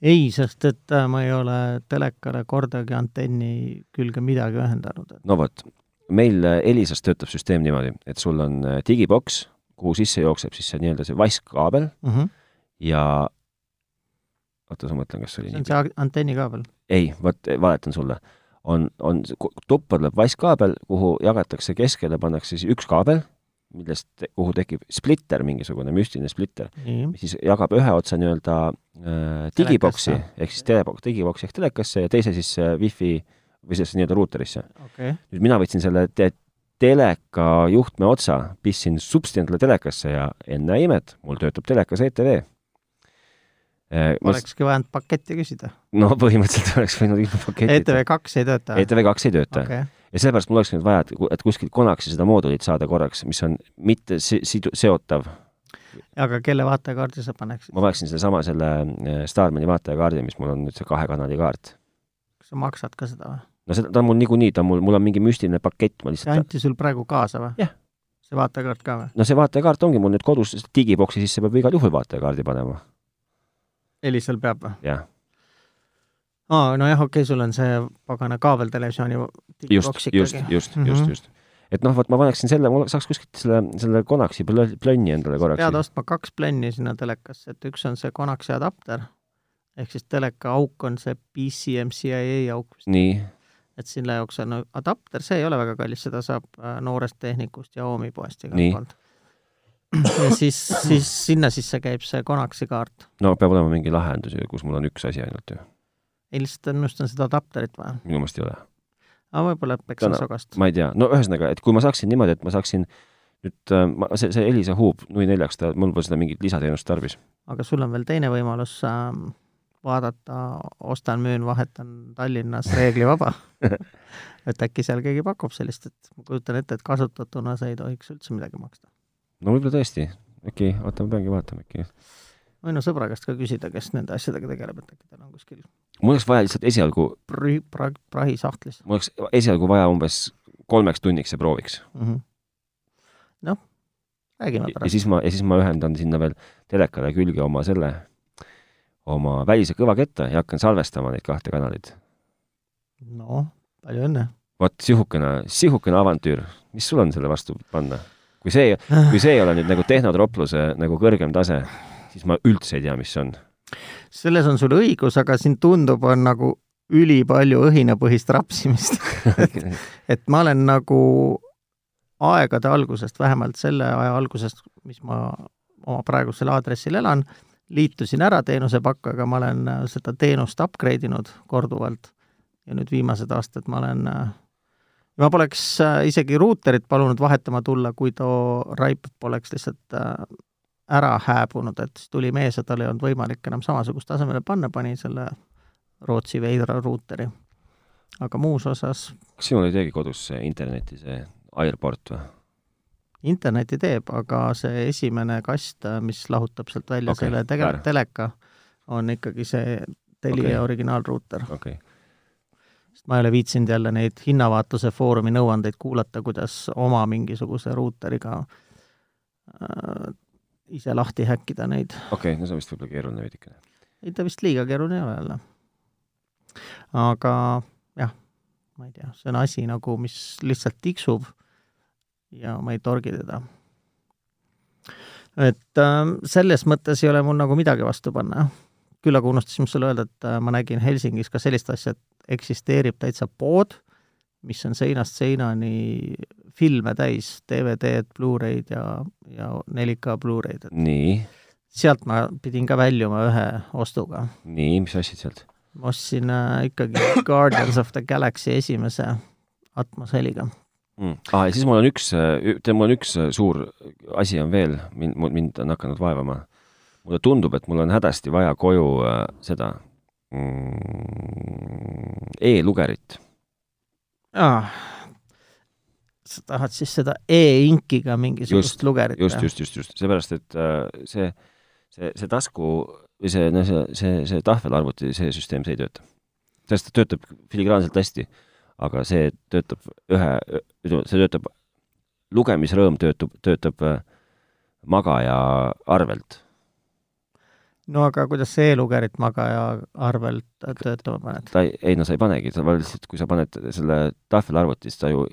S2: ei , sest et äh, ma ei ole telekale kordagi antenni külge midagi ühendanud .
S1: no vot, meil äh, Elisas töötab süsteem niimoodi, et sul on äh, digiboks, kuhu sisse jookseb siis see nii-öelda see vaskkaabel
S2: Mm -hmm.
S1: ja oota , ma mõtlen , kas see oli
S2: see on
S1: nii .
S2: see antennikaabel .
S1: ei , vot valetan sulle , on , on , tuppa tuleb vaskkaabel , kuhu jagatakse keskele , pannakse siis üks kaabel , millest , kuhu tekib splitter , mingisugune müstiline splitter ,
S2: nii ,
S1: mis siis jagab ühe otsa nii-öelda äh, digiboksi
S2: Telekasse.
S1: ehk siis teleboks , digiboksi ehk telekasse ja teise siis äh, wifi või siis nii-öelda ruuterisse .
S2: okei okay. .
S1: nüüd mina võtsin selle te teleka juhtme otsa , pistsin supsti endale telekasse ja enne imet , mul töötab telekas E ETV .
S2: olekski vaja ainult paketti küsida .
S1: Äh, no põhimõtteliselt oleks võinud ilma paketita .
S2: ETV kaks ei tööta ?
S1: ETV kaks ei tööta okay.
S2: okei ,
S1: ja sellepärast mul oleks nüüd vaja , et , et kuskilt Konaksi seda moodulit saada korraks , mis on mitte si- , sidu- , seotav .
S2: aga kelle vaatekaardi sa paneksid ?
S1: ma paneksin sedasama selle äh, Starmani vaatajakaardi , mis mul on nüüd see kahe kanali kaart .
S2: kas sa maksad ka seda või ?
S1: no seda , ta on mul niikuinii , ta on mul , mul on mingi müstiline pakett , ma
S2: see
S1: lihtsalt
S2: anti sul praegu kaasa või ?
S1: Jah.
S2: see vaatekaart ka või ?
S1: no see vaatajakaart ongi mul nüüd kodus , sest digiboksi sisse peab igal juhul vaatajakaardi panema ,
S2: Elisal peab või ?
S1: jah .
S2: aa , nojah , okei okay, , sul on see pagana kaabeltelevisiooni
S1: just , just , just mm , -hmm. just ,
S2: Mhm.
S1: just . et noh , vot ma paneksin selle , ma saaks kuskilt selle , selle Konaksi plö- plönni endale
S2: pead
S1: korraks .
S2: ostma kaks plenni sinna telekasse , et üks on see Konaksi adapter ehk siis teleka auk on see PCMCIA auk ,
S1: nii ,
S2: et selle jaoks on adapter , see ei ole väga kallis , seda saab äh, noorest tehnikust ja Oomi poest
S1: Nii.
S2: igalt poolt . ja siis , siis sinna sisse käib see Konaksi kaart .
S1: no peab olema mingi lahendus ju , kus mul on üks asi ainult ju ,
S2: ei , lihtsalt on minu arust on seda adapterit vaja .
S1: minu meelest ei ole .
S2: aga võib-olla peksin
S1: Täna-
S2: sogast .
S1: ma ei tea , no ühesõnaga , et kui ma saaksin niimoodi , et ma saaksin nüüd äh, ma , see , see Elisa huub nui neljaks , ta , mul pole seda mingit lisateenust tarvis .
S2: aga sul on veel teine võimalus ähm, vaadata , ostan , müün , vahetan Tallinnas reeglivaba . et äkki seal keegi pakub sellist , et ma kujutan ette , et kasutatuna sa ei tohiks üldse midagi maksta .
S1: no võib-olla tõesti , äkki , oota , ma peangi vaatama äkki .
S2: võin sõbra käest ka küsida , kes nende asjadega tegeleb , et äkki tal on kuskil
S1: mul oleks vaja lihtsalt esialgu ,
S2: prü- , pra- , prahisahtlis
S1: mul oleks esialgu vaja umbes kolmeks tunniks ja prooviks .
S2: mm -hmm. . noh , räägime
S1: ja
S2: pärast .
S1: siis ma , ja siis ma ühendan sinna veel telekale külge oma selle , oma välise kõvaketta ja hakkan salvestama neid kahte kanalit .
S2: noh , palju õnne .
S1: vot sihukene , sihukene avantüür , mis sul on selle vastu panna ? kui see , kui see ei ole nüüd nagu tehnotropluse nagu kõrgem tase , siis ma üldse ei tea , mis see on .
S2: selles on sul õigus , aga siin tundub , on nagu ülipalju õhinapõhist rapsimist . et ma olen nagu aegade algusest , vähemalt selle aja algusest , mis ma oma praegusel aadressil elan , liitusin ära teenusepakkajaga , ma olen äh, seda teenust upgrade inud korduvalt ja nüüd viimased aastad ma olen , ma poleks äh, isegi ruuterit palunud vahetama tulla , kui too raip poleks lihtsalt äh, ära hääbunud , et siis tuli mees ja tal ei olnud võimalik enam samasugust tasemele panna , pani selle Rootsi veidra ruuteri . aga muus osas
S1: kas sinul ei teegi kodus see interneti , see Airport või ?
S2: interneti teeb , aga see esimene kast , mis lahutab sealt välja
S1: Okei,
S2: okay, selle tege-
S1: väär. ,
S2: teleka , on ikkagi see Telia
S1: Okei.
S2: okay. originaalruuter ,
S1: okei okay. ,
S2: sest ma ei ole viitsinud jälle neid hinnavaatluse foorumi nõuandeid kuulata , kuidas oma mingisuguse ruuteriga äh, ise lahti häkkida neid .
S1: okei okay, , no see on vist võib-olla keeruline veidikene .
S2: ei , ta vist liiga keeruline ei ole jälle . aga jah , ma ei tea , see on asi nagu , mis lihtsalt tiksub ja ma ei torgi teda . et äh, selles mõttes ei ole mul nagu midagi vastu panna , jah . küll aga unustasin sulle öelda , et äh, ma nägin Helsingis ka sellist asja , et eksisteerib täitsa pood , mis on seinast seinani filme täis , DVD-d , Blu-ray'd ja , ja 4K Blu-ray'd , et
S1: nii ,
S2: sealt ma pidin ka väljuma ühe ostuga .
S1: nii , mis asjad sealt ?
S2: ma ostsin äh, ikkagi Guardians of the Galaxy esimese Atmos heliga .
S1: Mm. Ah, ja siis mul on üks , tead , mul on üks äh, suur asi on veel , mind , mind on hakanud vaevama . mulle tundub , et mul on hädasti vaja koju äh, seda E-lugerit.
S2: Ah, sa tahad siis seda e-inkiga mingisugust
S1: Just,
S2: lugerit
S1: just ,? just , just , just seepärast , et äh, see , see , see tasku või see , no see , see , see tahvelarvuti , see süsteem , see ei tööta . sellest ta töötab filigraanselt hästi , aga see töötab ühe , ütleme , see töötab , lugemisrõõm töötab , töötab äh, magaja arvelt .
S2: no aga kuidas sa e-lugerit magaja arvelt töötama paned ?
S1: ta ei , ei no sa ei panegi , sa vaid lihtsalt , kui sa paned selle tahvelarvuti , siis ta ju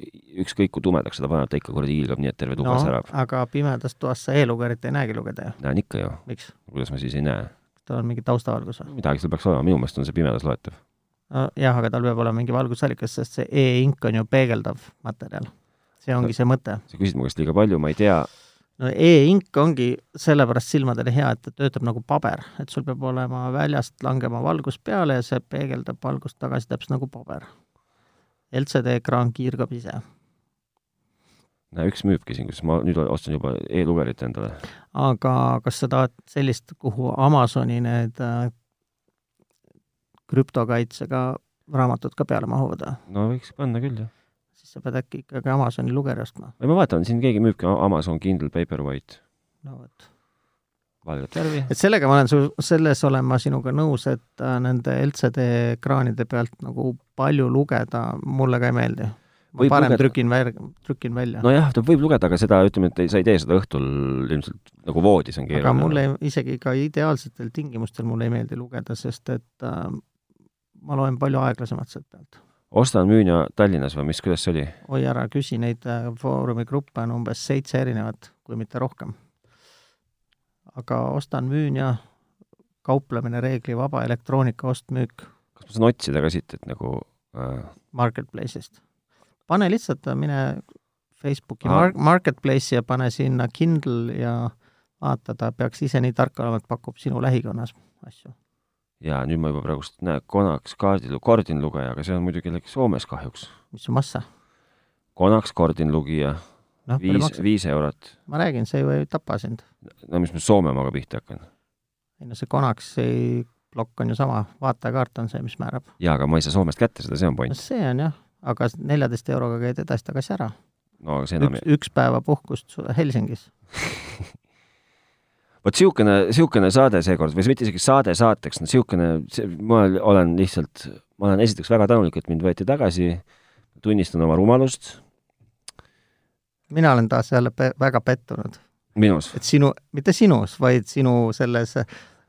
S1: ükskõik kui tumedaks seda paneb , ta ikka kuradi hiilgab nii , et terve tuba
S2: no
S1: no. särab .
S2: aga pimedas toas sa e-lugerit ei näegi lugeda ju ,
S1: näen ikka ju ,
S2: miks ?
S1: kuidas ma siis ei näe .
S2: tal on mingi taustavalgus või ?
S1: midagi seal peaks olema , minu meelest on see pimedas loetav .
S2: jah , aga tal peab olema mingi valgusallikas , sest see e-ink on ju peegeldav materjal . see ongi see mõte .
S1: sa küsid mu käest liiga palju , ma ei tea ,
S2: no e-ink ongi sellepärast silmadele hea , et ta töötab nagu paber , et sul peab olema väljast langema valgus peale ja see peegeldab valgust tagasi täpselt nagu paber . LCD ekraan kiirgab ise .
S1: näe üks müübki siin , kus ma nüüd ostan juba e-lugerit endale .
S2: aga kas sa tahad sellist , kuhu Amazoni need äh, krüptokaitsega raamatud ka peale mahuvad või ?
S1: no võiks panna küll , jah .
S2: siis sa pead äkki ikkagi Amazoni lugeja ostma .
S1: või ma vaatan , siin keegi müübki A- Amazon Kindle Paperwhite ,
S2: no vot .
S1: valget värvi .
S2: et sellega ma olen su , selles olen ma sinuga nõus , et äh, nende LCD ekraanide pealt nagu palju lugeda mulle ka ei meeldi . ma
S1: Võib
S2: parem
S1: lugeda.
S2: lugeda. trükin välja , trükin välja no, .
S1: nojah , ta võib lugeda , aga seda , ütleme , et ei, sa ei tee seda õhtul ilmselt nagu voodis on
S2: aga
S1: keeruline .
S2: mulle ei- isegi ka ideaalsetel tingimustel mulle ei meeldi lugeda , sest et äh, ma loen palju aeglasemalt sealt pealt .
S1: ostan , müün ja Tallinnas või mis , kuidas see oli ?
S2: oi ära küsi , neid äh, Foorumi gruppe on umbes seitse erinevat , kui mitte rohkem . aga ostan , müün ja kauplemine reeglivaba , elektroonika ost-müük
S1: kas ma saan otsida ka siit , et nagu äh,
S2: Marketplace'ist . pane lihtsalt , mine Facebooki
S1: Aa.
S2: mar- , Marketplace'i ja pane sinna Kindle ja vaata , ta peaks ise nii tark olema , et pakub sinu lähikonnas asju .
S1: ja nüüd ma juba praegust näen , Konaks kaardilu- , kordinlugeja , aga see on muidugi jällegi Soomes kahjuks .
S2: mis on massa ?
S1: Konaks kordinlugija ,
S2: noh , palju
S1: viis ,
S2: maksab ?
S1: viis eurot .
S2: ma räägin , see ju ei tapa sind .
S1: no mis ma Soome omaga pihta hakkan ?
S2: ei no see Konaksi plokk on ju sama , vaatekaart on see , mis määrab .
S1: jaa , aga ma ei saa Soomest kätte seda , see on point
S2: no . see on jah , aga s- neljateist euroga käid edasi-tagasi ära .
S1: no aga see enam
S2: üks , üks päeva puhkust su- Helsingis .
S1: vot niisugune , niisugune saade seekord või mitte isegi saade saateks , no niisugune , ma olen lihtsalt , ma olen esiteks väga tänulik , et mind võeti tagasi , tunnistan oma rumalust
S2: mina olen taas jälle pe väga pettunud ,
S1: minus .
S2: et sinu , mitte sinus , vaid sinu selles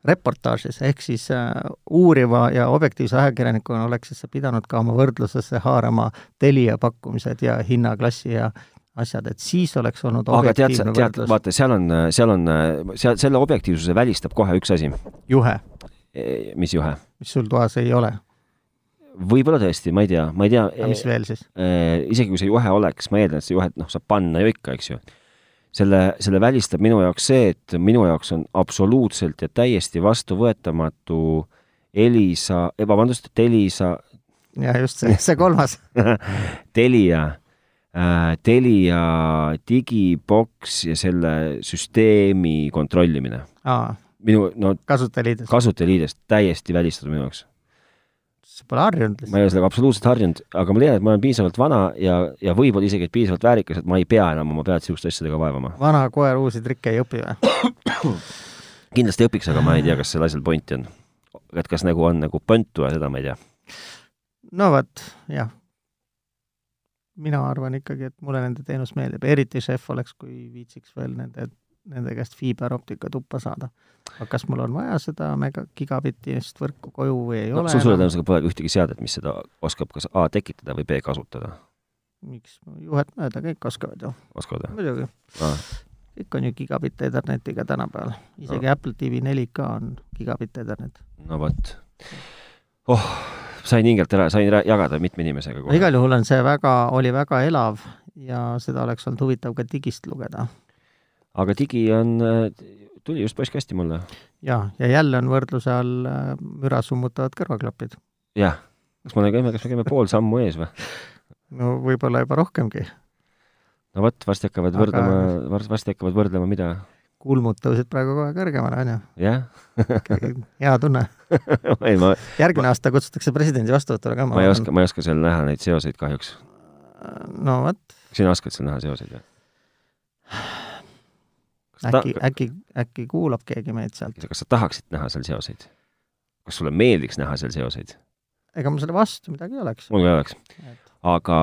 S2: reportaažis ehk siis äh, uuriva ja objektiivse ajakirjanikuna oleksid sa pidanud ka oma võrdlusesse haarama Telia pakkumised ja hinnaklassi ja asjad , et siis oleks olnud
S1: aga tead sa ,
S2: objektiivne
S1: tead ,
S2: võrdlus
S1: vaata , seal on , seal on , seal , selle objektiivsuse välistab kohe üks asi ,
S2: juhe ,
S1: mis juhe .
S2: mis sul toas ei ole .
S1: võib-olla tõesti , ma ei tea , ma ei tea
S2: aga mis veel siis ?
S1: Eh, isegi kui see juhe oleks , ma eeldan , et see juhe , noh , saab panna ju ikka , eks ju . selle , selle välistab minu jaoks see , et minu jaoks on absoluutselt ja täiesti vastuvõetamatu Elisa , vabandust , Telisa ,
S2: ja just see , see kolmas .
S1: Telia äh, , Telia digiboks ja selle süsteemi kontrollimine . minu , no
S2: kasutajaliides ,
S1: kasutajaliidest täiesti välistatud minu jaoks .
S2: sa pole harjunud
S1: ma
S2: lihtsalt .
S1: ei ole sellega absoluutselt harjunud , aga ma tean , et ma olen piisavalt vana ja , ja võib-olla isegi et piisavalt väärikas , et ma ei pea enam oma pead niisuguste asjadega vaevama .
S2: vana koer uusi trikke ei õpi või ?
S1: kindlasti õpiks , aga ma ei tea , kas sellel asjal pointi on . et kas nagu on nagu põntu ja seda ma ei tea .
S2: no vot , jah . mina arvan ikkagi , et mulle nende teenus meeldib , eriti šef oleks , kui viitsiks veel nende , nende käest fiiberoptika tuppa saada . aga kas mul on vaja seda mega gigabitist võrku koju või ei
S1: no,
S2: ole noh,
S1: sul suure ? tõenäosusega pole ühtegi seadet , mis seda oskab kas A tekitada või B kasutada ,
S2: miks , juhet mööda kõik oskavad ju ,
S1: oskavad või ?
S2: muidugi .
S1: Aa.
S2: kõik on ju gigabitt Ethernetiga tänapäeval ,
S1: Ah.
S2: isegi Apple TV 4K on gigabitt Ethernet .
S1: no vot . oh , sain hingelt ära , sain rää- jagada mitme inimesega
S2: no
S1: kohe .
S2: igal juhul on see väga , oli väga elav ja seda oleks olnud huvitav ka digist lugeda .
S1: aga digi on , tuli just postkasti mulle .
S2: jaa , ja jälle on võrdluse all äh, müra summutavad kõrvaklapid .
S1: jah , kas me käime , kas me käime pool sammu ees või ?
S2: no võib-olla juba rohkemgi .
S1: no vot , varsti hakkavad
S2: Aga-
S1: võrdlema , varsti hakkavad võrdlema , mida
S2: kulmud tõusid praegu kohe kõrgemale, on
S1: jah
S2: ju. hea tunne.
S1: ei , ma ,
S2: järgmine aasta kutsutakse presidendi vastuvõtule ka .
S1: ma ei oska , ma ei oska seal näha neid seoseid kahjuks .
S2: no vot ,
S1: sina oskad seal näha seoseid või ? kas sa
S2: äkki ,
S1: ta-
S2: äkki , äkki kuulab keegi meid sealt .
S1: kas sa tahaksid näha seal seoseid ? kas sulle meeldiks näha seal seoseid ?
S2: ega mul selle vastu midagi ei oleks .
S1: mul ka ei oleks , aga ,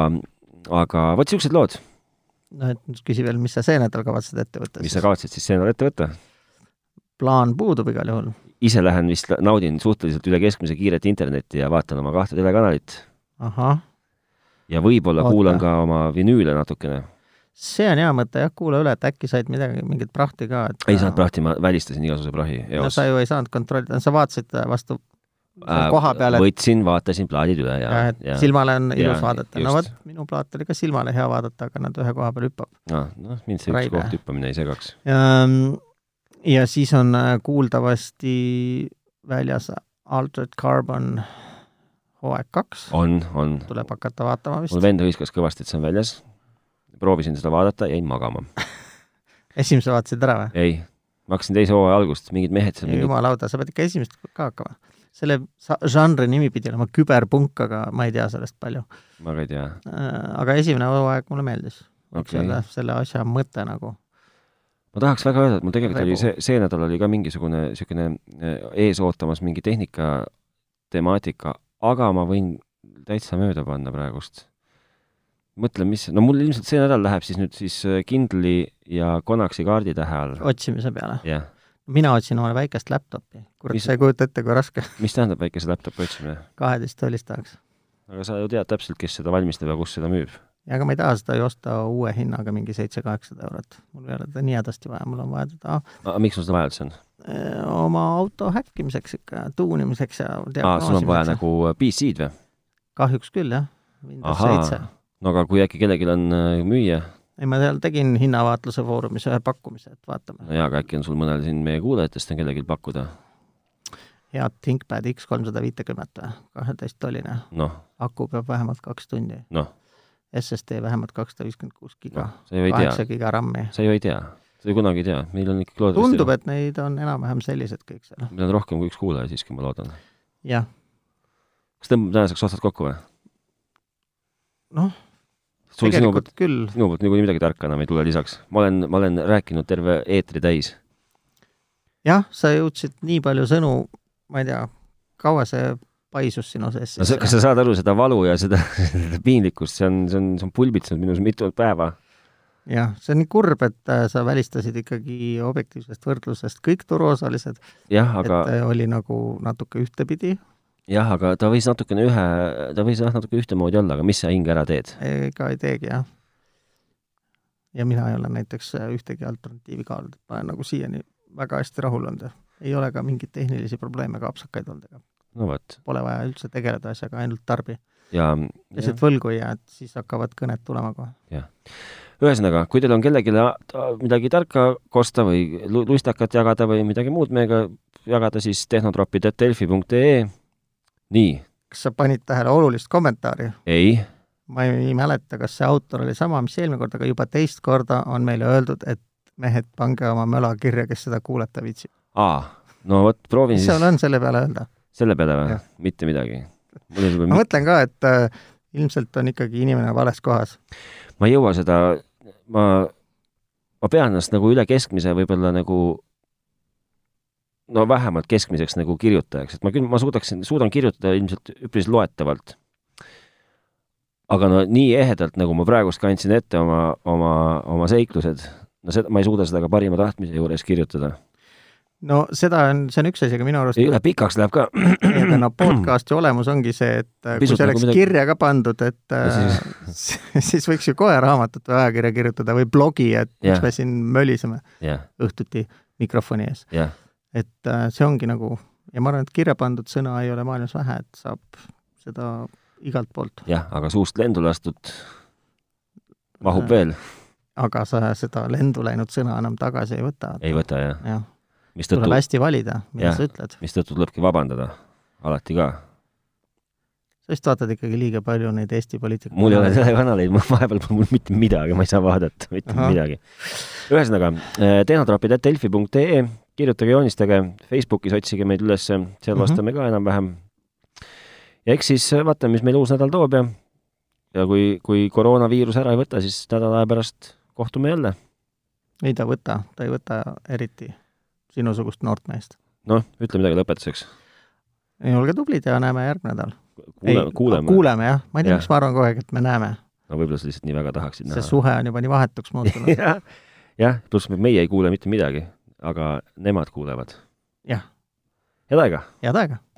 S1: aga vot niisugused lood ,
S2: no et nüüd küsi veel , mis sa see nädal kavatsed ette võtta
S1: mis sa
S2: siis ?
S1: kavatsed siis see nädal ette võtta ?
S2: plaan puudub igal juhul .
S1: ise lähen vist , naudin suhteliselt üle keskmise kiiret internetti ja vaatan oma kahte telekanalit
S2: ahah ,
S1: ja võib-olla
S2: Oota.
S1: kuulan ka oma vinüüle natukene .
S2: see on hea mõte jah , kuula üle , et äkki said midagi , mingit prahti ka , et äh,
S1: ei saanud prahti , ma välistasin igasuguse prahi
S2: no
S1: eos
S2: sa . ju ei saanud kontrollida , sa vaatasid vastu äh, koha peal , et
S1: võtsin , vaatasin plaadid üle ja
S2: jah ,, et
S1: ja
S2: silmale on ilus
S1: Jaa,
S2: vaadata ,
S1: just.
S2: no vot , minu plaat oli ka silmale hea vaadata , aga nad ühe koha peal hüppab .
S1: Ah, noh , mind see üks
S2: Raive.
S1: koht hüppamine ei segaks .
S2: Ehm, ja siis on äh, kuuldavasti väljas Altered Carbon hooaeg kaks ,
S1: on , on .
S2: tuleb hakata vaatama vist
S1: mul . vend hõiskas kõvasti , et see on väljas . proovisin seda vaadata , jäin magama .
S2: esimese vaatasid ära või ?
S1: ei , ma hakkasin teise hooaja algust , mingid mehed seal mingi... ,
S2: jumala auto , sa pead ikka esimest ka hakkama . selle sa- žanri nimi pidi olema küberpunk , aga ma ei tea sellest palju .
S1: ma ka ei tea .
S2: aga esimene hooaeg mulle meeldis okay. ,
S1: okei
S2: selle , selle asja mõte nagu .
S1: ma tahaks väga öelda , et mul tegelikult oli
S2: Rebu.
S1: see , see nädal oli ka mingisugune niisugune ees ootamas mingi tehnika temaatika , aga ma võin täitsa mööda panna praegust . mõtlen , mis , no mul ilmselt see nädal läheb siis nüüd siis äh, Kindle'i ja Konaksi kaarditähe all .
S2: otsimise peale .
S1: jah ,
S2: mina otsin omale väikest laptopi . kurat ,
S1: Mis-
S2: sa ei kujuta ette , kui raske
S1: mis tähendab väikese laptopi otsimine ?
S2: kaheteist tollist tahaks .
S1: aga sa ju tead täpselt , kes seda valmistab ja kus seda müüb .
S2: ja ega ma ei taha seda ju osta uue hinnaga mingi seitse-kaheksasada eurot . mul ei ole teda nii hädasti vaja , mul on vaja teda
S1: aga miks sul seda vaja üldse on ?
S2: eh, oma auto häkkimiseks ikka , tuunimiseks ja
S1: aa , sul on vaja
S2: diagnoosimiseks .
S1: nagu PC-d või ?
S2: kahjuks küll jah , Windows
S1: Ahaa.
S2: seitse .
S1: no aga kui äkki kellelgi on äh, müüa ,
S2: ei , ma seal tegin hinnavaatluse foorumis ühe pakkumise , et vaatame .
S1: no jaa , aga äkki on sul mõnel siin meie kuulajatest on kellelgi pakkuda ,
S2: head ThinkPad X kolmsada viitekümmet või , kaheteist tolline
S1: noh ,
S2: aku peab vähemalt kaks tundi .
S1: Noh. .
S2: SSD vähemalt kakssada viiskümmend kuus giga
S1: noh , sa ju ei
S2: kaheksa
S1: tea ,
S2: giga RAM-i .
S1: sa ju ei tea , sa ju kunagi ei tea , meil on ikkagi loodetavasti
S2: tundub , et neid on enam-vähem sellised kõik seal .
S1: meil on rohkem kui üks kuulaja siiski , ma loodan .
S2: jah ,
S1: kas tõmbame tänaseks otsad kokku või ?
S2: Noh,
S1: sul sinu poolt ,
S2: tegelikult küll .
S1: sinu poolt niikuinii midagi tarka enam ei tule lisaks . ma olen , ma olen rääkinud terve eetri täis .
S2: jah , sa jõudsid nii palju sõnu , ma ei tea , kaua see paisus sinu sees
S1: no sa , kas sa saad aru seda valu ja seda, seda piinlikkust , see on , see on , see on pulbitsenud minus mitu päeva .
S2: jah , see on nii kurb , et äh, sa välistasid ikkagi objektiivsest võrdlusest kõik turuosalised ,
S1: jah ,
S2: et
S1: aga ,
S2: äh, oli nagu natuke ühtepidi ,
S1: jah , aga ta võis natukene ühe , ta võis jah , natuke ühtemoodi olla , aga mis sa hinge ära teed ?
S2: ega ei teegi jah . ja mina ei ole näiteks äh, ühtegi alternatiivi kaalunud , ma olen nagu siiani väga hästi rahul olnud ja ei ole ka mingeid tehnilisi probleeme ega apsakaid olnud , ega
S1: no vot ,
S2: pole vaja üldse tegeleda asjaga , ainult tarbi .
S1: ja
S2: lihtsalt võlgu ei jää , et siis hakkavad kõned tulema kohe .
S1: ühesõnaga , kui teil on kellelegi a- ta- midagi tarka kosta või lu- lustakat jagada või midagi muud meiega jagada , siis tehnotropid.delfi.ee . nii ,
S2: kas sa panid tähele olulist kommentaari ?
S1: ei ,
S2: ma ei mäleta , kas see autor oli sama , mis eelmine kord , aga juba teist korda on meile öeldud , et mehed , pange oma möla kirja , kes seda kuulata viitsib .
S1: aa , no vot , proovin
S2: mis
S1: siis
S2: sul on selle peale öelda ?
S1: selle peale või
S2: Jah. ?
S1: mitte midagi . mul ei tule
S2: ma , mõtlen ka , et äh, ilmselt on ikkagi inimene vales kohas .
S1: ma ei jõua seda , ma , ma pean ennast nagu üle keskmise võib-olla nagu no vähemalt keskmiseks nagu kirjutajaks , et ma küll , ma suudaksin , suudan kirjutada ilmselt üpris loetavalt . aga no nii ehedalt , nagu ma praegust kandsin ette oma , oma , oma seiklused , no seda , ma ei suuda seda ka parima tahtmise juures kirjutada .
S2: no seda on , see on üks asi , aga minu arust küll ,
S1: pikaks läheb ka .
S2: aga no podcast'i olemus ongi see , et äh, kui
S1: Pisut
S2: see
S1: nagu
S2: oleks
S1: midagi-
S2: kirja ka pandud , et äh, siis võiks ju kohe raamatut või ajakirja kirjutada või blogi , et
S1: Jah.
S2: miks me siin möliseme
S1: jah ,
S2: õhtuti mikrofoni ees .
S1: jah ,
S2: et äh, see ongi nagu ja ma arvan , et kirja pandud sõna ei ole maailmas vähe , et saab seda igalt poolt ,
S1: jah , aga suust lendu lastud mahub veel ,
S2: aga sa seda lendu läinud sõna enam tagasi ei võta .
S1: ei võta jah ,
S2: jah ,
S1: mistõttu
S2: tuleb hästi valida , mida
S1: Jah.
S2: sa ütled .
S1: mistõttu tulebki vabandada alati ka .
S2: sa vist vaatad ikkagi liiga palju neid Eesti poliitikuid.
S1: mul ei ole telekanaleid, ma vahepeal pole mul mitte midagi, ma ei saa vaadata mitte Aha. midagi. ühesõnaga, tehnotroopid.delfi.ee, kirjutage, joonistage, Facebookis otsige meid üles, seal mm
S2: Mhm.
S1: -hmm. vastame ka enam-vähem. ja eks siis äh, vaatame, mis meil uus nädal toob ja, ja kui, kui koroonaviirus ära ei võta, siis nädala aja pärast kohtume jälle.
S2: ei ta võta, ta ei võta eriti sinusugust noort meest.
S1: noh, ütle midagi lõpetuseks.
S2: olge tublid ja näeme järgmine nädal
S1: kuuleme, kuuleme.
S2: kuuleme jah, ma ei tea, miks ma arvan kogu aeg, et me näeme.
S1: no võib-olla sa lihtsalt nii väga tahaksid
S2: näha. see suhe on juba nii vahetuks muutunud
S1: jah ja,, pluss meie ei kuule mitte midagi, aga nemad kuulevad.
S2: jah.
S1: head aega!
S2: head aega!